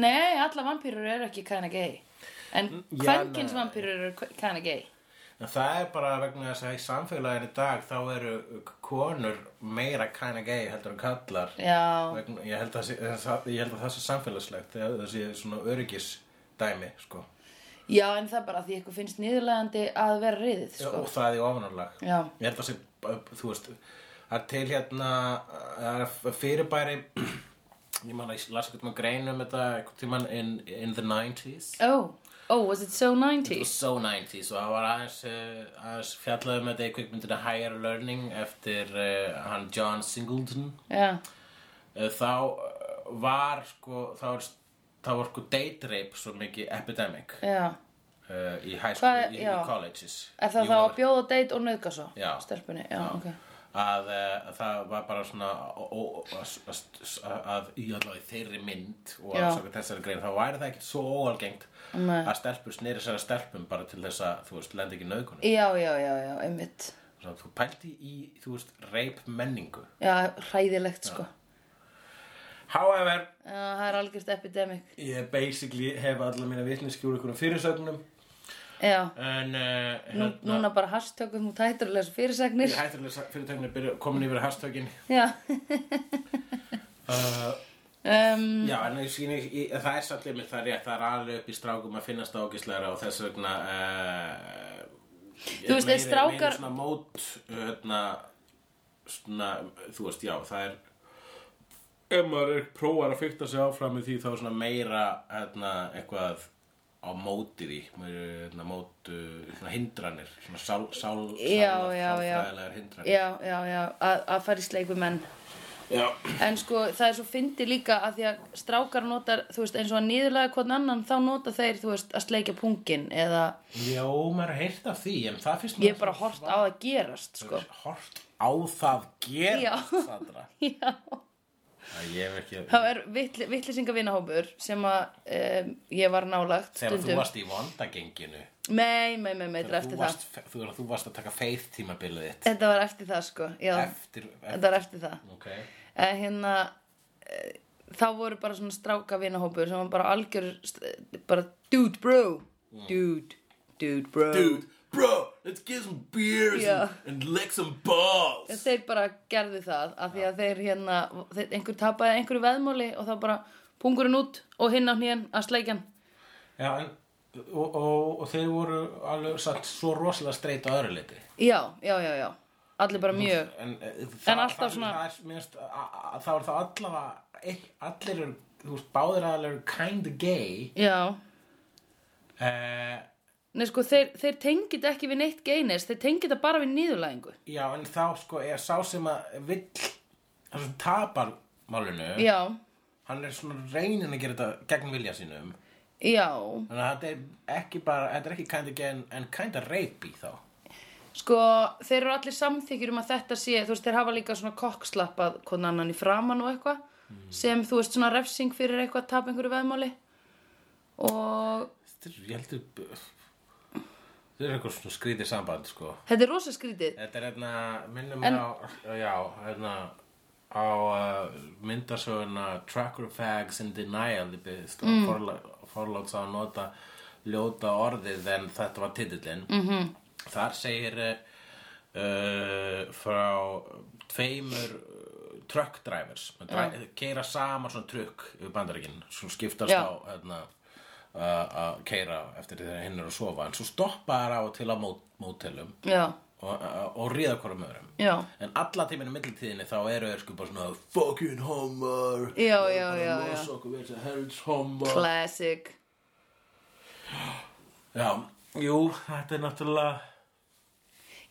Speaker 1: nei, allar vampýrur eru ekki kinda gay, en
Speaker 2: Mm, já,
Speaker 1: kvenkins
Speaker 2: nei.
Speaker 1: vampýrur eru kinda gay.
Speaker 2: En það er bara vegna þess að í samfélaginu í dag þá eru konur meira kind of gay heldur en kallar.
Speaker 1: Já,
Speaker 2: Vegna, ég, held að, það- ég held að það sé samfélagslegt, þegar það sé svona öryggisdæmi, sko.
Speaker 1: já, en það er bara því eitthvað finnst niðurlegandi að vera riðið, sko.
Speaker 2: Og það er í ofanarlag.
Speaker 1: Já,
Speaker 2: ég held að sé, þú veist það er til hérna það er fyrirbæri ég man að ég las eitthvað með grein um þetta eitthvað tíman in, in the 90s
Speaker 1: oh, oh, was it so
Speaker 2: It
Speaker 1: 90s?
Speaker 2: was so 90s og það var aðeins, uh, aðeins fjallað um þetta í kvikmyndina Higher Learning eftir uh, hann John Singleton
Speaker 1: Já,
Speaker 2: uh, þá uh, var sko þá var, þá var sko date rape svo mikið epidemic
Speaker 1: já.
Speaker 2: uh, í high
Speaker 1: Hvað
Speaker 2: school,
Speaker 1: er-
Speaker 2: í, í
Speaker 1: já.
Speaker 2: colleges
Speaker 1: Er það
Speaker 2: Jú,
Speaker 1: þá að bjóða date og nauðga svo?
Speaker 2: Já.
Speaker 1: Stelpunni, já, ok.
Speaker 2: að uh, það var bara svona ó- ó- ó- að, að, að í allavega í þeirri mynd og
Speaker 1: Já.
Speaker 2: að saka þessari grein þá væri það ekki svo óalgengt
Speaker 1: Nei.
Speaker 2: að stelpur sneri sér að stelpum bara til þess að þú veist, lendi ekki nöðkunum
Speaker 1: Já, já, já, já, einmitt.
Speaker 2: Svo, þú pælti í, þú veist, reip menningu
Speaker 1: Já, hræðilegt, sko.
Speaker 2: however,
Speaker 1: Já, það er algjörst epidemic.
Speaker 2: ég basically hef alla mína vitniski úr einhverjum fyrirsögnum
Speaker 1: Já,
Speaker 2: en uh,
Speaker 1: nú, núna bara hashtökum og tæturlega fyrirsagnir.
Speaker 2: hættulega fyrirtögnum komin yfir hashtagin
Speaker 1: Já.
Speaker 2: uh,
Speaker 1: um,
Speaker 2: Já, en ég skynni, ég, það er samt einmitt það er rétt, það er alveg upp í strákum að finnast það ágislegra og þess vegna uh,
Speaker 1: Þú veist, ef strákar-
Speaker 2: Meiri svona mót, hérna, svona, þú veist, já, það er Ef maður er prófar að fykta sig áfram í því þá er svona meira, hérna, eitthvað á móti því, maður er, hérna, mótu, svona hindranir, svona sál, sál,
Speaker 1: Já,
Speaker 2: sál,
Speaker 1: já, já.
Speaker 2: sálfræðilegar hindranir.
Speaker 1: já, já, já, að, að fara í sleik við menn.
Speaker 2: Já,
Speaker 1: En sko, það er svo fyndi líka að því að strákar notar, þú veist, eins og að niðurlega hvern annan, þá nota þeir, þú veist, að sleikja pungin eða
Speaker 2: já, maður er heyrt af því, en það finnst
Speaker 1: ég er bara hort á að gerast, sko.
Speaker 2: hort á það gerast
Speaker 1: Já.
Speaker 2: Sandra
Speaker 1: Já.
Speaker 2: Það ég hef ekki
Speaker 1: Það er vittlisingavinahópur sem að um, ég var nálagt
Speaker 2: Þegar þú
Speaker 1: stundum.
Speaker 2: varst í vandagenginu
Speaker 1: Nei, nei, nei, nei, þetta var
Speaker 2: þú
Speaker 1: eftir það.
Speaker 2: varst, þú, þú varst að taka feith tímabilið þitt
Speaker 1: Þetta var eftir það, sko. Já,
Speaker 2: Eftir, eftir
Speaker 1: þetta var eftir það.
Speaker 2: Ok
Speaker 1: En hérna, eh, þá voru bara svona stráka vinahópur sem var bara algjör, st- bara dude bro, dude, dude bro.
Speaker 2: Dude, bro, let's get some beers
Speaker 1: Já.
Speaker 2: and, and lick some balls
Speaker 1: En Þeir bara gerðu það af því að þeir hérna, þeir, einhver tapaði einhverju veðmáli og þá bara pungurinn út og hinn á hnýjan að sleikjan.
Speaker 2: Já, en og, og, og þeir voru alveg satt svo rosalega streit á öðru liti
Speaker 1: Já, já, já, já. Allir bara mjög.
Speaker 2: en, eh, það,
Speaker 1: alltaf
Speaker 2: það,
Speaker 1: svona-
Speaker 2: það er, mér finnst, a- a- þá er það allavega ein- allir eru, þú veist, báðir aðalega eru kinda gay
Speaker 1: Já,
Speaker 2: eh,
Speaker 1: Nei, sko, þeir, þeir tengið ekki við neitt geinis, þeir tengið það bara við nýðulæðingu.
Speaker 2: Já, en þá sko er sá sem að vill það sem tapar málinu
Speaker 1: Já,
Speaker 2: hann er svona reynin að gera þetta gegn vilja sínum
Speaker 1: já,
Speaker 2: þannig að þetta er ekki bara þetta er ekki kind of gen en kind of rapey þá
Speaker 1: sko, þeir eru allir samþykjur um að þetta sé, þú veist, þeir hafa líka svona kokkslappað konan annan í framan og eitthvað, sem, þú veist, svona refsing fyrir eitthvað að tapa einhverju veðmáli. Og
Speaker 2: þetta er, ég heldur þetta er eitthvað svona skrítið samband sko
Speaker 1: þetta er rosa skrítið.
Speaker 2: þetta er hérna, minnum
Speaker 1: En-
Speaker 2: en... á já, hérna á uh, myndasöguna Tracker Fags and Denial þið byrðist mm. og forláts að nota ljóta orðið en þetta var titillinn mm -hmm. þar segir uh, uh, frá tveimur uh, truck drivers keira saman svona trukk við bandaríkinn, svo skiptast
Speaker 1: Já.
Speaker 2: á hérna, uh, að keira eftir þegar hinn er að sofa en svo stoppa þær á og til á mót, mótelum
Speaker 1: Já,
Speaker 2: og, og ríða hvorum öðrum
Speaker 1: já,
Speaker 2: en alla tíminu millitíðinni þá eru þeir sko bara svona fucking homar
Speaker 1: Já,
Speaker 2: Bara
Speaker 1: já, já,
Speaker 2: losa
Speaker 1: já.
Speaker 2: okkur við þessa helds homar
Speaker 1: classic.
Speaker 2: já, Jú, þetta er náttúrulega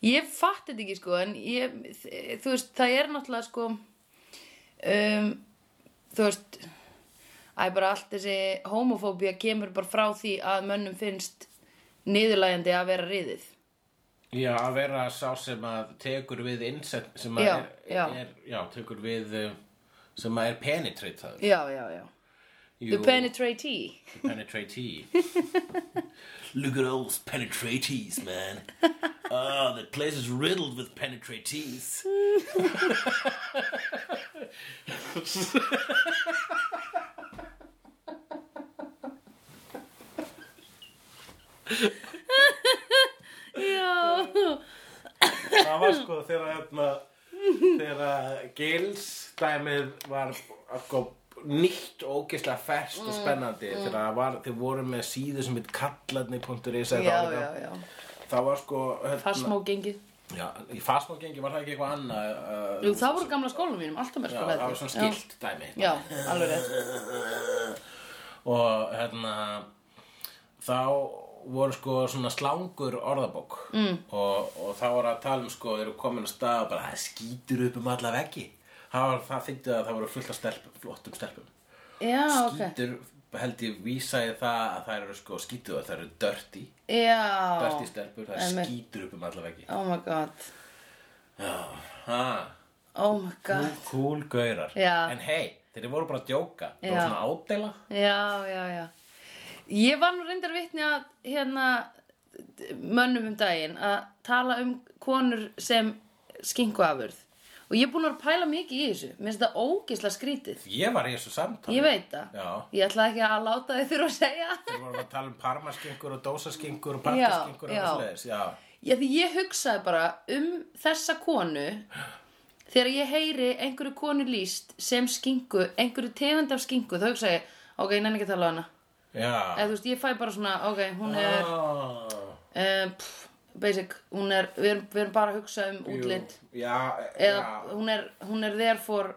Speaker 1: Ég fatt þetta ekki sko en ég, þ- þú veist, það er náttúrulega sko um, þú veist æ, bara allt þessi homofóbía kemur bara frá því að mönnum finnst niðurlægjandi að vera riðið
Speaker 2: Já, að vera sá sem að tekur við innsett sem að
Speaker 1: Já,
Speaker 2: er,
Speaker 1: já.
Speaker 2: er já, tekur við uh, sem að er penetritaður
Speaker 1: Já, já, já
Speaker 2: Jú,
Speaker 1: The penetratee
Speaker 2: penetratee Look at all those penetratees, man Ah, the place is riddled with penetratees
Speaker 1: Já,
Speaker 2: Það var sko þegar hérna þegar að Gils dæmið var sko, nýtt og ógeðslega ferskt
Speaker 1: Mm,
Speaker 2: og spennandi þegar það var, þeir voru með síðu sem heit kallarni.is eða
Speaker 1: já,
Speaker 2: það var
Speaker 1: já,
Speaker 2: eitthvað.
Speaker 1: já
Speaker 2: það var sko hérna,
Speaker 1: Fasmá gengið
Speaker 2: já, í fastmágengi var það ekki eitthvað annað uh,
Speaker 1: Jú, það voru gamla skólanum mínum, alltaf með
Speaker 2: já,
Speaker 1: skóla
Speaker 2: það var svona skilt dæmi
Speaker 1: Já, já alveg rétt
Speaker 2: og hérna þá voru sko svona slangur orðabók mm. og, og þá voru að tala um sko þeir eru komin að stað og bara það skýtur upp um alla veggi það, var, það þyngdi að það voru fullt af stelpum flottum stelpum
Speaker 1: Já, ok
Speaker 2: skýtur held ég vísa í það að það eru sko skýtur það eru dirty,
Speaker 1: Já,
Speaker 2: dirty stelpur það
Speaker 1: Einmitt.
Speaker 2: skýtur upp um alla veggi
Speaker 1: oh my god
Speaker 2: ha,
Speaker 1: Oh my god
Speaker 2: cool gaurar
Speaker 1: Já.
Speaker 2: en hei, þeir voru bara að djóka það
Speaker 1: Já.
Speaker 2: var svona ádela
Speaker 1: Já, já, já. Ég var nú reyndar vitni að hérna mönnum um daginn að tala um konur sem skinkuafurð. Og ég er búin að vera að pæla mikið í þessu. Mér finnst þetta ógisla skrítið.
Speaker 2: ég var í þessu samtali
Speaker 1: Ég veit það.
Speaker 2: Já.
Speaker 1: Ég ætla ekki að láta þið þurfa að segja.
Speaker 2: Við vorum að tala um parmaskinkur og dósaskinkur og
Speaker 1: Já,
Speaker 2: partaskinkur og
Speaker 1: já.
Speaker 2: það sliðis, já.
Speaker 1: Já, því ég hugsaði bara um þessa konu þegar ég heyri einhverju konu líst sem skinku, einhverju tegund af skinku, þá hugsaði ég, ok, ég nenni ekki að tala á hana.
Speaker 2: Já.
Speaker 1: Eða þú veist, ég fæ bara svona, ok, hún er...
Speaker 2: Ah,
Speaker 1: uh, pff, basic, hún er við, erum, við erum bara að hugsa um
Speaker 2: jú.
Speaker 1: útlit
Speaker 2: Já,
Speaker 1: eða
Speaker 2: já.
Speaker 1: hún er, hún er there for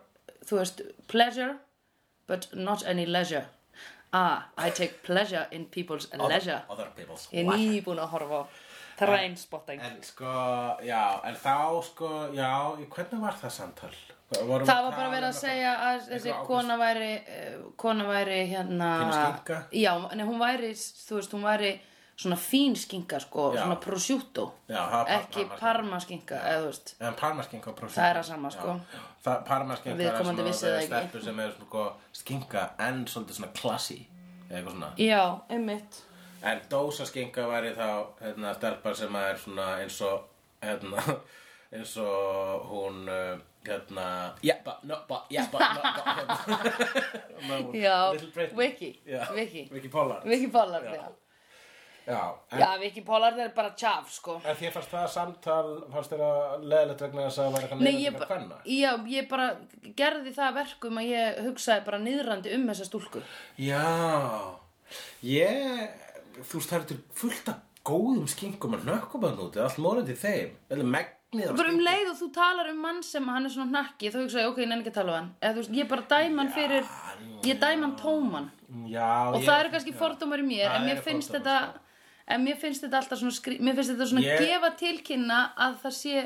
Speaker 1: þú veist, pleasure but not any leisure ah, I take pleasure in people's leisure
Speaker 2: Other people's
Speaker 1: ég er nýbúin að horfa á trænspotting
Speaker 2: En sko, já, en þá sko, já, í- hvernig var það samtal? Vorum um
Speaker 1: það var bara verið að segja að þessi
Speaker 2: ákveðst-
Speaker 1: kona væri eh, kona væri hérna
Speaker 2: Fín skinka?
Speaker 1: já, en hún væri, þú veist, hún væri svona fín skinka sko,
Speaker 2: Já.
Speaker 1: svona prosciutto
Speaker 2: Já, það var par-
Speaker 1: ekki
Speaker 2: parmaskinka.
Speaker 1: parma skinka, eða þú veist
Speaker 2: En parmaskinka og prosciutto.
Speaker 1: Það er að sama, sko.
Speaker 2: Já. Það, parmaskinka er
Speaker 1: Viðkomandi
Speaker 2: svona
Speaker 1: vissi það ekki.
Speaker 2: stelpur sem er svona sko, skinka en svolítið svona classy. eða Eitthvað svona.
Speaker 1: já, einmitt
Speaker 2: En dósaskinka væri þá hérna, stelpa sem að er svona eins og hérna, eins og hún uh, hérna, jeppa, noppa, jeppa, noppa hérna.
Speaker 1: Já,
Speaker 2: Little Britain.
Speaker 1: Vicky,
Speaker 2: Já,
Speaker 1: Vicky.
Speaker 2: Vicky Pollard
Speaker 1: Viki Pollard,
Speaker 2: Já.
Speaker 1: já.
Speaker 2: Já, en,
Speaker 1: Já, Viki Pollard er bara tjaf, sko.
Speaker 2: en þér fannst það samtal fannst þér að leðilegt vegna þess að það var eitthvað
Speaker 1: Nei, ég
Speaker 2: leðilegt að
Speaker 1: bara,
Speaker 2: hvenna
Speaker 1: já, ég bara gerði það að verkum að ég hugsaði bara niðrandi um þessa stúlku.
Speaker 2: Já, ég þú veist það eru til fullt af góðum skinkum að nökkum að núti, allt morandi þeim eða megnið af
Speaker 1: Bara um leið og þú talar um mann sem hann er svona hnakki, þá hugsaði ég, ok, ég nenni ekki að tala um hann. Eða þú veist, ég bara dæma hann fyrir, ég dæma hann tóman.
Speaker 2: skinkum. Já,
Speaker 1: Og
Speaker 2: ég-
Speaker 1: það eru kannski fordómar í mér,
Speaker 2: Það
Speaker 1: en mér
Speaker 2: eru
Speaker 1: finnst
Speaker 2: fordómar, sko.
Speaker 1: þetta, en mér finnst þetta alltaf svona, skri, mér finnst þetta svona
Speaker 2: Ég-
Speaker 1: gefa tilkynna að það sé,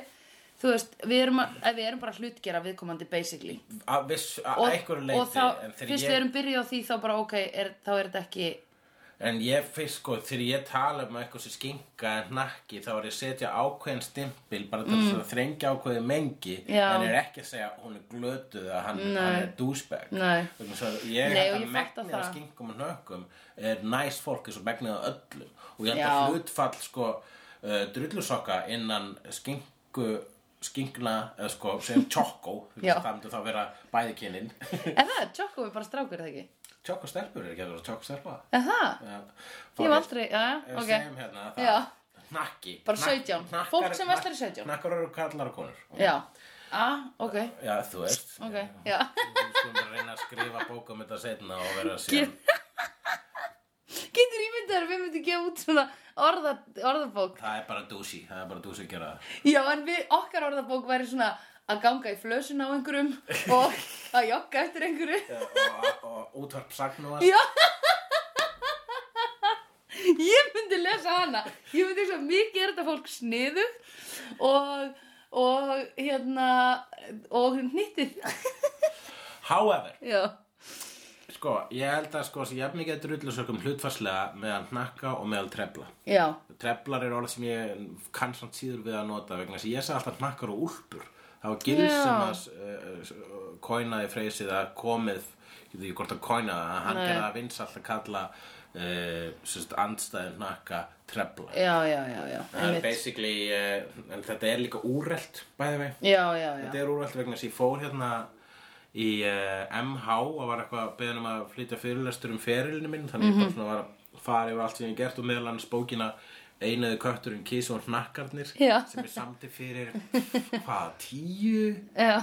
Speaker 1: þú veist, við erum, að, að við erum bara hlutgera viðkomandi basically.
Speaker 2: að viss, að
Speaker 1: og,
Speaker 2: einhverju leyti
Speaker 1: og þá,
Speaker 2: en,
Speaker 1: fyrst
Speaker 2: þegar
Speaker 1: við
Speaker 2: ég,
Speaker 1: erum byrjuð á því þá bara ok, er, þá er þetta ekki
Speaker 2: en ég fyrst sko þegar ég tala um eitthvað sem skinka en hnakki þá er ég að setja ákveðin stimpil bara til þess að þrengja ákveðin mengi
Speaker 1: Mm. Já.
Speaker 2: en er ekki að segja að hún er glötuð að hann, hann er douchebag
Speaker 1: Nei.
Speaker 2: Vegna þess að ég
Speaker 1: Nei,
Speaker 2: held
Speaker 1: og
Speaker 2: að
Speaker 1: ég fatta
Speaker 2: megnið af
Speaker 1: það.
Speaker 2: skinkum og nökkum er næs fólk eins og megnið af öllum og ég held
Speaker 1: Já.
Speaker 2: að hlutfall sko uh, drullusokka innan skinku skingna eða sko sem tjokko
Speaker 1: Já.
Speaker 2: það myndi þá vera bæði kynin
Speaker 1: en það er tjokko við bara strákur er það ekki
Speaker 2: tjokko stelpur er ekki að vera tjokko stelpa
Speaker 1: en það,
Speaker 2: Já,
Speaker 1: ég hef aldrei já,
Speaker 2: Ef
Speaker 1: já,
Speaker 2: við
Speaker 1: ok,
Speaker 2: segjum hérna
Speaker 1: Já.
Speaker 2: það Nakki
Speaker 1: Bara
Speaker 2: Nak-
Speaker 1: 17.
Speaker 2: hnakkar-
Speaker 1: Fólk sem verslar í
Speaker 2: hnak-
Speaker 1: 17.
Speaker 2: Hnakkar eru kallar og konur
Speaker 1: já a, ok,
Speaker 2: Já, þú veist
Speaker 1: ok, já
Speaker 2: Við skulum bara reyna að skrifa bók um þetta setna og vera síðan
Speaker 1: getur ímyndað þér að við myndum gefa út svona orða, orðabók
Speaker 2: Það er bara dúsi, það er bara dúsi að gera það
Speaker 1: já, en við, okkar orðabók væri svona að ganga í flösun á einhverjum og að jogga eftir einhverju
Speaker 2: Og, og, og útvarp sagnúast
Speaker 1: já ég myndi myndi lesa hana ég myndi svo mikið er þetta fólk sniðugt og, og hérna og hnýttið
Speaker 2: However,
Speaker 1: já,
Speaker 2: sko, ég held að sko, sem jafn mikið að drullu sökum hlutfarslega meðal hnakka og meðal trefla.
Speaker 1: já,
Speaker 2: Treflar er orð sem ég kann samt síður við að nota vegna þess að ég sagði alltaf hnakkar og úlpur. Það var gils
Speaker 1: Já.
Speaker 2: sem að uh, kóinaði freysið að komið, ég veit ekki hvort að kóinaði, að hann
Speaker 1: Nei.
Speaker 2: gerði að vins alltaf kalla uh, andstæðin hnakka trefla.
Speaker 1: já, já, já, já.
Speaker 2: Það er
Speaker 1: einmitt.
Speaker 2: basically, uh, en þetta er líka úrelt, bæði vei.
Speaker 1: já, já, já,
Speaker 2: Þetta er úrvelt vegna þess að ég fór hérna í uh, MH og var eitthvað beðin um að flytja fyrirlestur um ferilinu minn þannig ég
Speaker 1: Mhm.
Speaker 2: bara svona var að fara yfir allt sem ég hef gert og meðal annars bókina Einuðu kötturinn kís og hnakkarnir
Speaker 1: Já.
Speaker 2: sem ég samti fyrir hvað, 10,
Speaker 1: já,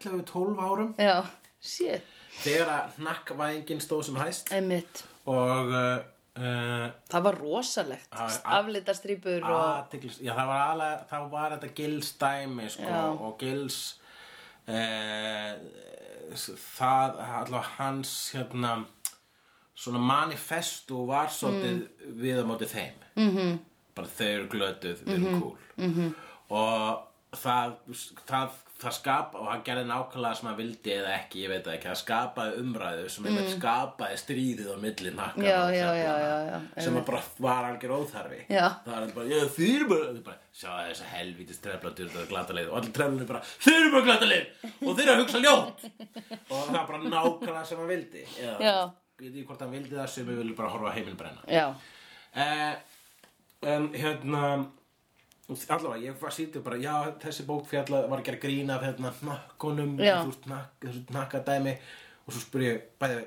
Speaker 2: 11, 12 árum
Speaker 1: já shit,
Speaker 2: þegar að hnakkvæðingin stóð sem hæst
Speaker 1: einmitt
Speaker 2: og uh, uh,
Speaker 1: það var rosalegt,
Speaker 2: Það er- Ah.
Speaker 1: aflitastrýpur og
Speaker 2: aðteglis, já það var alveg, þá var þetta gils dæmi sko
Speaker 1: Já.
Speaker 2: og gils eh, það, allavega hans hérna svona manifestu var svolítið
Speaker 1: Mm.
Speaker 2: við á móti þeim
Speaker 1: Mhm.
Speaker 2: -hmm. bara þau eru glötuð, þau eru cool -hmm. og það, það, það skapa og hann gerði nákvæmlega sem hann vildi eða ekki, ég veit það ekki, það skapaði umræðu sem mm. skapaði stríðið á milli nakkar
Speaker 1: Já, já, já, já, já,
Speaker 2: sem að bara var algjör óþarfi
Speaker 1: Já.
Speaker 2: það var allir bara, já þið eru bara, þið bara sjá þess að helvítis trefla dyrta glata leið og allir treflunni bara, þið eru bara glata leið og þið eru að hugsa ljótt og það var bara nákvæmlega sem hann vildi eða,
Speaker 1: Já.
Speaker 2: ég veit ekki hvort hann vildi það sem við viljum bara horfa á heiminn brenna
Speaker 1: já,
Speaker 2: Eh, en hérna allavega, ég var sýtið bara já, þessi bók fjalla var að gera grín af hérna hnakkunum,
Speaker 1: Já.
Speaker 2: þú ert hnakk- þú ert hnakkadæmi og svo spurði ég bæði,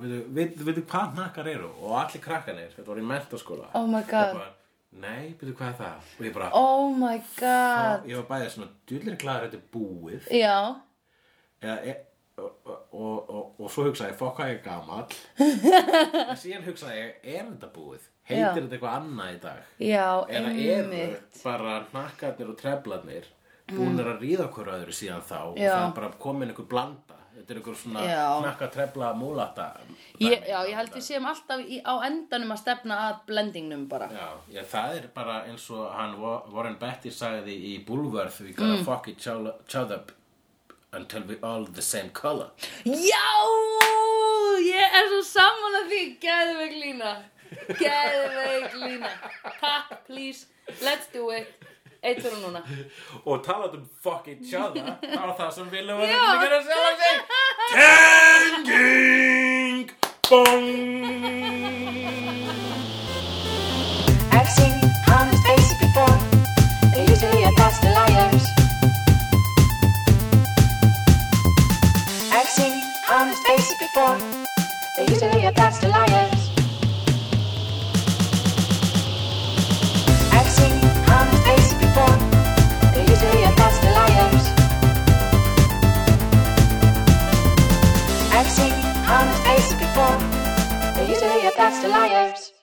Speaker 2: veitu, veitu, veitu hvað hnakkar eru og allir krakkanir, þetta var í mentaskóla
Speaker 1: Oh my God.
Speaker 2: Og bara, nei, veitu hvað er það og ég bara,
Speaker 1: oh my god
Speaker 2: ég var bæðið svona djúlir glæður þetta er búið
Speaker 1: já,
Speaker 2: eða, e, og, og, og, og svo hugsaði ég, fokk hvað ég er gamall en síðan hugsaði ég, er þetta búið heitir
Speaker 1: Já.
Speaker 2: þetta eitthvað annað í dag
Speaker 1: já,
Speaker 2: eða eru
Speaker 1: einmitt Mm.
Speaker 2: bara hnakkarnir og treflarnir búnir að ríða hver öðru síðan þá og
Speaker 1: Já.
Speaker 2: það er bara komin einhver blanda þetta er einhver svona
Speaker 1: Já.
Speaker 2: hnakka trefla múlata
Speaker 1: Ég, já, ég held við séum alltaf í, á endanum að stefna að blendingnum bara.
Speaker 2: já, já, það er bara eins og hann Wa- Warren Betty sagði í Bulworth we
Speaker 1: Mm.
Speaker 2: gotta fuck each other- each other until we all the same color
Speaker 1: Já, ég er svo sammála því, gæðveik lína, gæðveik lína, takk, please, let's do it, eitt fyrir núna.
Speaker 2: og talað um fuck each other þá er það sem viljum að
Speaker 1: Já.
Speaker 2: þetta líka að segja sig Tenging Bong
Speaker 3: I've seen honest faces before. They usually are past the liars. I've seen honest faces before. They usually are past the liars. I've seen honest faces before. They usually are past the liars. I've seen honest faces before. They usually are past the liars.